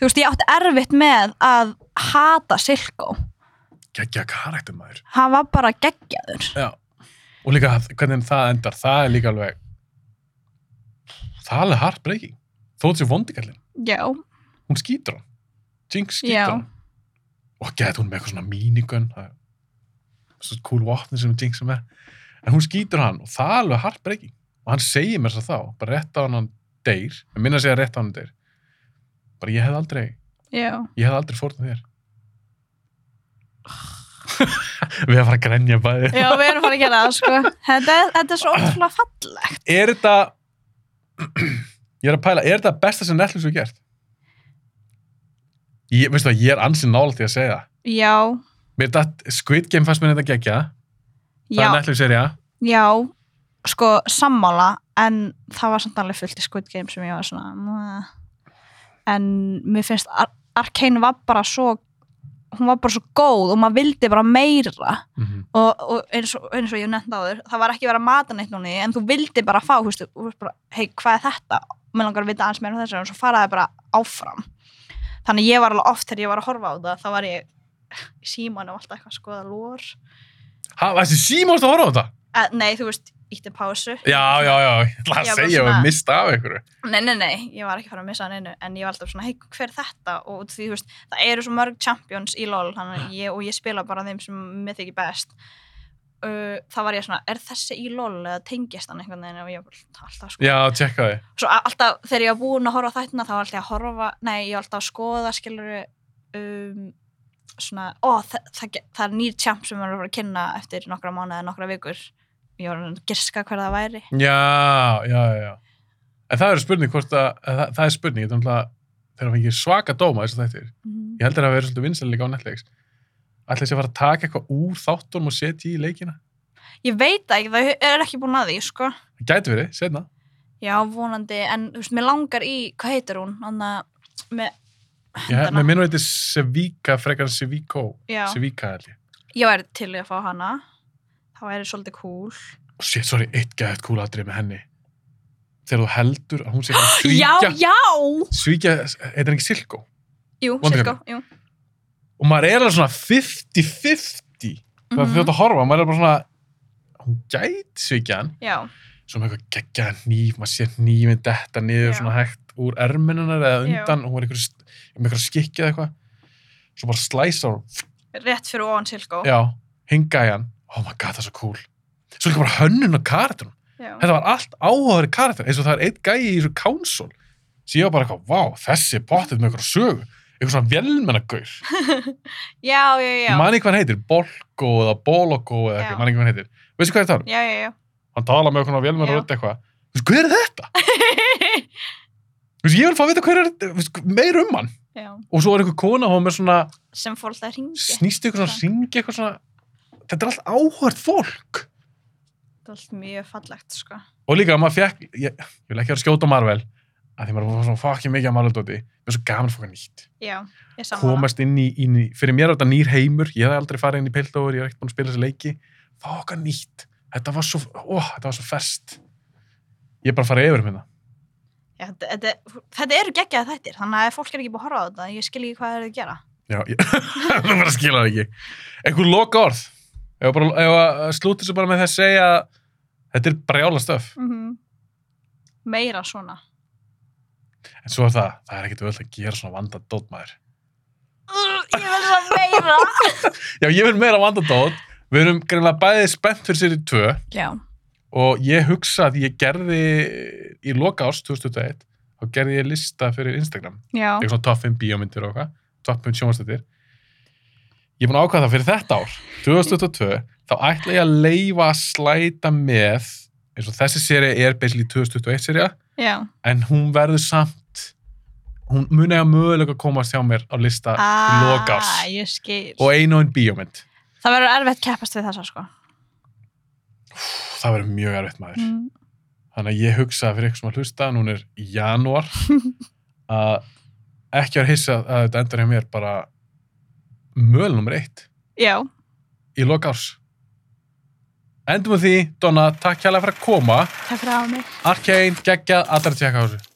S2: Þú veist, ég átti erfitt með að hata Silko.
S1: geggja karakter maður
S2: Hann var bara geggjaður.
S1: Já. og líka að- hvernig það endar það er líka alveg það er alveg heartbreaking þó þessi vondikallin,
S2: Já.
S1: hún skýtur hann Jinx
S2: Já.
S1: skýtur hann og get hún með eitthvað svona mínigun svo cool vopni sem Jinx er með en hún skýtur hann og það er alveg heartbreaking og hann segir mér þess að þá bara rétt á hann hann deyr, ég minna að segja rétt á hann deyr bara ég hef aldrei
S2: Já.
S1: Ég hef aldrei fórnað þér. <laughs> Við erum að fara að grenja bæði.
S2: Já, við erum bara að gera það, sko. Þetta, þetta er svo ótrúlega fallegt.
S1: Er þetta, <clears throat> ég er að pæla, er þetta besta sem Netflix hefur gert? Ég, veistu það, ég er ansinn nála til að segja það.
S2: Já.
S1: Mér datt, Squid Game fannst mér þetta gegja, það er
S2: Já.
S1: Netflix-serja.
S2: Já, sko, sammála en það var samt alveg fullt í Squid Game sem ég var svona "Mwah." en mér finnst Ar Arkane var bara svo hún var bara svo góð og maður vildi bara meira
S1: Mm -hmm.
S2: og, og eins, og eins og ég nefndi á þér það var ekki verið að mata neitt núni en þú vildi bara fá, hústu, bara, hei, hvað er þetta mér langar að vita aðeins meira um þessu og svo faraði bara áfram þannig ég var alveg oft þegar ég var að horfa á það þá var ég í símanum alltaf eitthvað að skoða lór
S1: Ha, þessi símást að horfa á þetta?
S2: eh, nei, þú veist, ítti pásu
S1: Já, já, já, ég ætla
S2: Já,
S1: að
S2: bara
S1: segja að
S2: svona-
S1: við mista af einhverju.
S2: Nei, nei, nei, ég var ekki fara að missa hann einu en ég var alltaf svona, hei, hver er þetta? Og út af því, þú veist, það eru svo mörg champions í LOL þannig, að ég, og ég spila bara þeim sem mér þykir best uh, þá var ég svona, er þessi í LOL eða tengist hann einhvern veginn og ég var alltaf sko
S1: Já, tjekka þið.
S2: Svo a- alltaf, þegar ég var búin að horfa á þættina þá var alltaf að horfa, nei, ég var alltaf að skoða skilur um, svona, ó, það, það, ge- það er nýr champ sem er að fara að kynna eftir nokkra mánuði eða nokkra vikur ég var að giska hver það væri
S1: Já, já, já, já. En það er spurning hvort að, að það, það er spurning, þetta er náttúrulega, þegar hann fengið svaka dóma þess að þetta er.
S2: mm.
S1: Ég held að það verið svolítið vinsæli líka á Netflix. Ætla þessi að fara að taka eitthvað úr þáttunum og setja í leikina?
S2: Ég veit það ekki, það er ekki búin að því, sko
S1: Það gæti verið, setna.
S2: Já, vonandi, en þú veist, mér langar í, hvað heitir hún? Anna, með,
S1: Ég hef,
S2: Hendana.
S1: með minnum þetta er Sevika, frekar en Seviko.
S2: já,
S1: Sevika, held ég.
S2: ég væri til í að fá hana. Það væri svolítið cool.
S1: Og shit, sorry, eitt gæðið kúla atrið með henni. Þegar þú heldur að hún sé að
S2: <gasps> Já,
S1: svíkja,
S2: já!
S1: svíkja, heitir ekki Silko.
S2: Jú,
S1: Wonder
S2: Silko, jú.
S1: Og maður er alveg svona 50-50. Það er
S2: Mhm.
S1: þetta að horfa, maður er bara svona, hún gæti svíkja hann.
S2: Já,
S1: svo með eitthvað geggjaðan hníf, maður sér hnífin detta niður
S2: Já.
S1: svona hægt úr erminunar eða
S2: Já.
S1: undan, hún var einhver, með eitthvað skikkið eitthvað, svo bara slæsa hún,
S2: rétt fyrir ofan Silko.
S1: já, hinga í hann, oh my god, það er svo cool. Svo líka bara hönnun og karakterum,
S2: já.
S1: þetta var allt áhugaður karakter, eins og það er eitt gæi í þessu kánsól, svo ég var bara eitthvað, vá, þessi bóttið með eitthvað sögu, eitthvað svona velmennagaur,
S2: já, já, já.
S1: manni hvað hann heitir, Bolko eða Boloko eða
S2: Já.
S1: eitthvað, manni hvað hann heitir, veistu hvað ég er það?
S2: já, já, já.
S1: Hann tala með eitthvað
S2: Já.
S1: velmennar eitthvað, Þú veist, hver er
S2: <laughs>
S1: þetta? Þú veist, ég vil fá að vita hver er þú veist, meir um hann
S2: já.
S1: og svo er einhver kona hún er með svona
S2: Sem fór alltaf að ringja.
S1: snýst ykkur svona ringi eitthvað svona þetta er allt áhört fólk
S2: Þetta er allt mjög fallegt, sko.
S1: og líka maður fekk ég, ég vil ekki vera að skjóta á Marvel að því maður var svona fucking mikið að Marvel dóti mér er svo gaman að fóka nýtt
S2: Já, ég saman.
S1: komast inn í, inn í fyrir mér er þetta nýr heimur ég hef aldrei farið inn í Piltover ég er ekkert búin að spila þessi leiki fóka nýtt þetta var svo ó, þetta var svo fest ég er bara að fara yfir um hérna
S2: Já, þetta, þetta, þetta eru geggjað þættir, þannig að ef fólk er ekki búið að horfa á þetta. Ég skil ekki hvað það er að gera.
S1: Já, ég, <laughs> það bara skilur það ekki. Einhver loka orð. Ef að bara, ef að slúti svo bara með það að segja að þetta er brjála stöf.
S2: Mhm. Meira svona.
S1: En svo er það, það er ekkit völd að gera svona vandadót maður.
S2: Ugh, Ég vil svo meira.
S1: Já, ég vil meira vandadót. Við erum greinlega bæðið spennt fyrir sér í tvö
S2: Já.
S1: og ég hugsa að ég gerði í loka árs 2021 þá gerði ég lista fyrir Instagram.
S2: Já.
S1: Eitthvað svona top 5 bíómyndir og eitthvað. Top 5 sjónvastættir. ég er búin að ákvæða það fyrir þetta ár 2022, þá ætla ég að leifa að slæta með eins og þessi seri er basically 2021 seria
S2: já.
S1: en hún verður samt hún muni að mögulega komast hjá mér á lista ah, lokars
S2: Ah, ég skil.
S1: og ein og einn bíómynd
S2: Það verður erfitt keppast við þessa, sko.
S1: það verður mjög erfitt maður
S2: Mm.
S1: þannig að ég hugsa fyrir ykkur sem að hlusta núna er í janúar að ekki vera hissa að þetta endur hjá mér bara mögulega nummer eitt
S2: Já,
S1: í lokárs endum við því, Donna, takk hérlega fyrir að koma
S2: takk fyrir að hafa mig.
S1: Arkane, geggjað, allra tjekka á þessu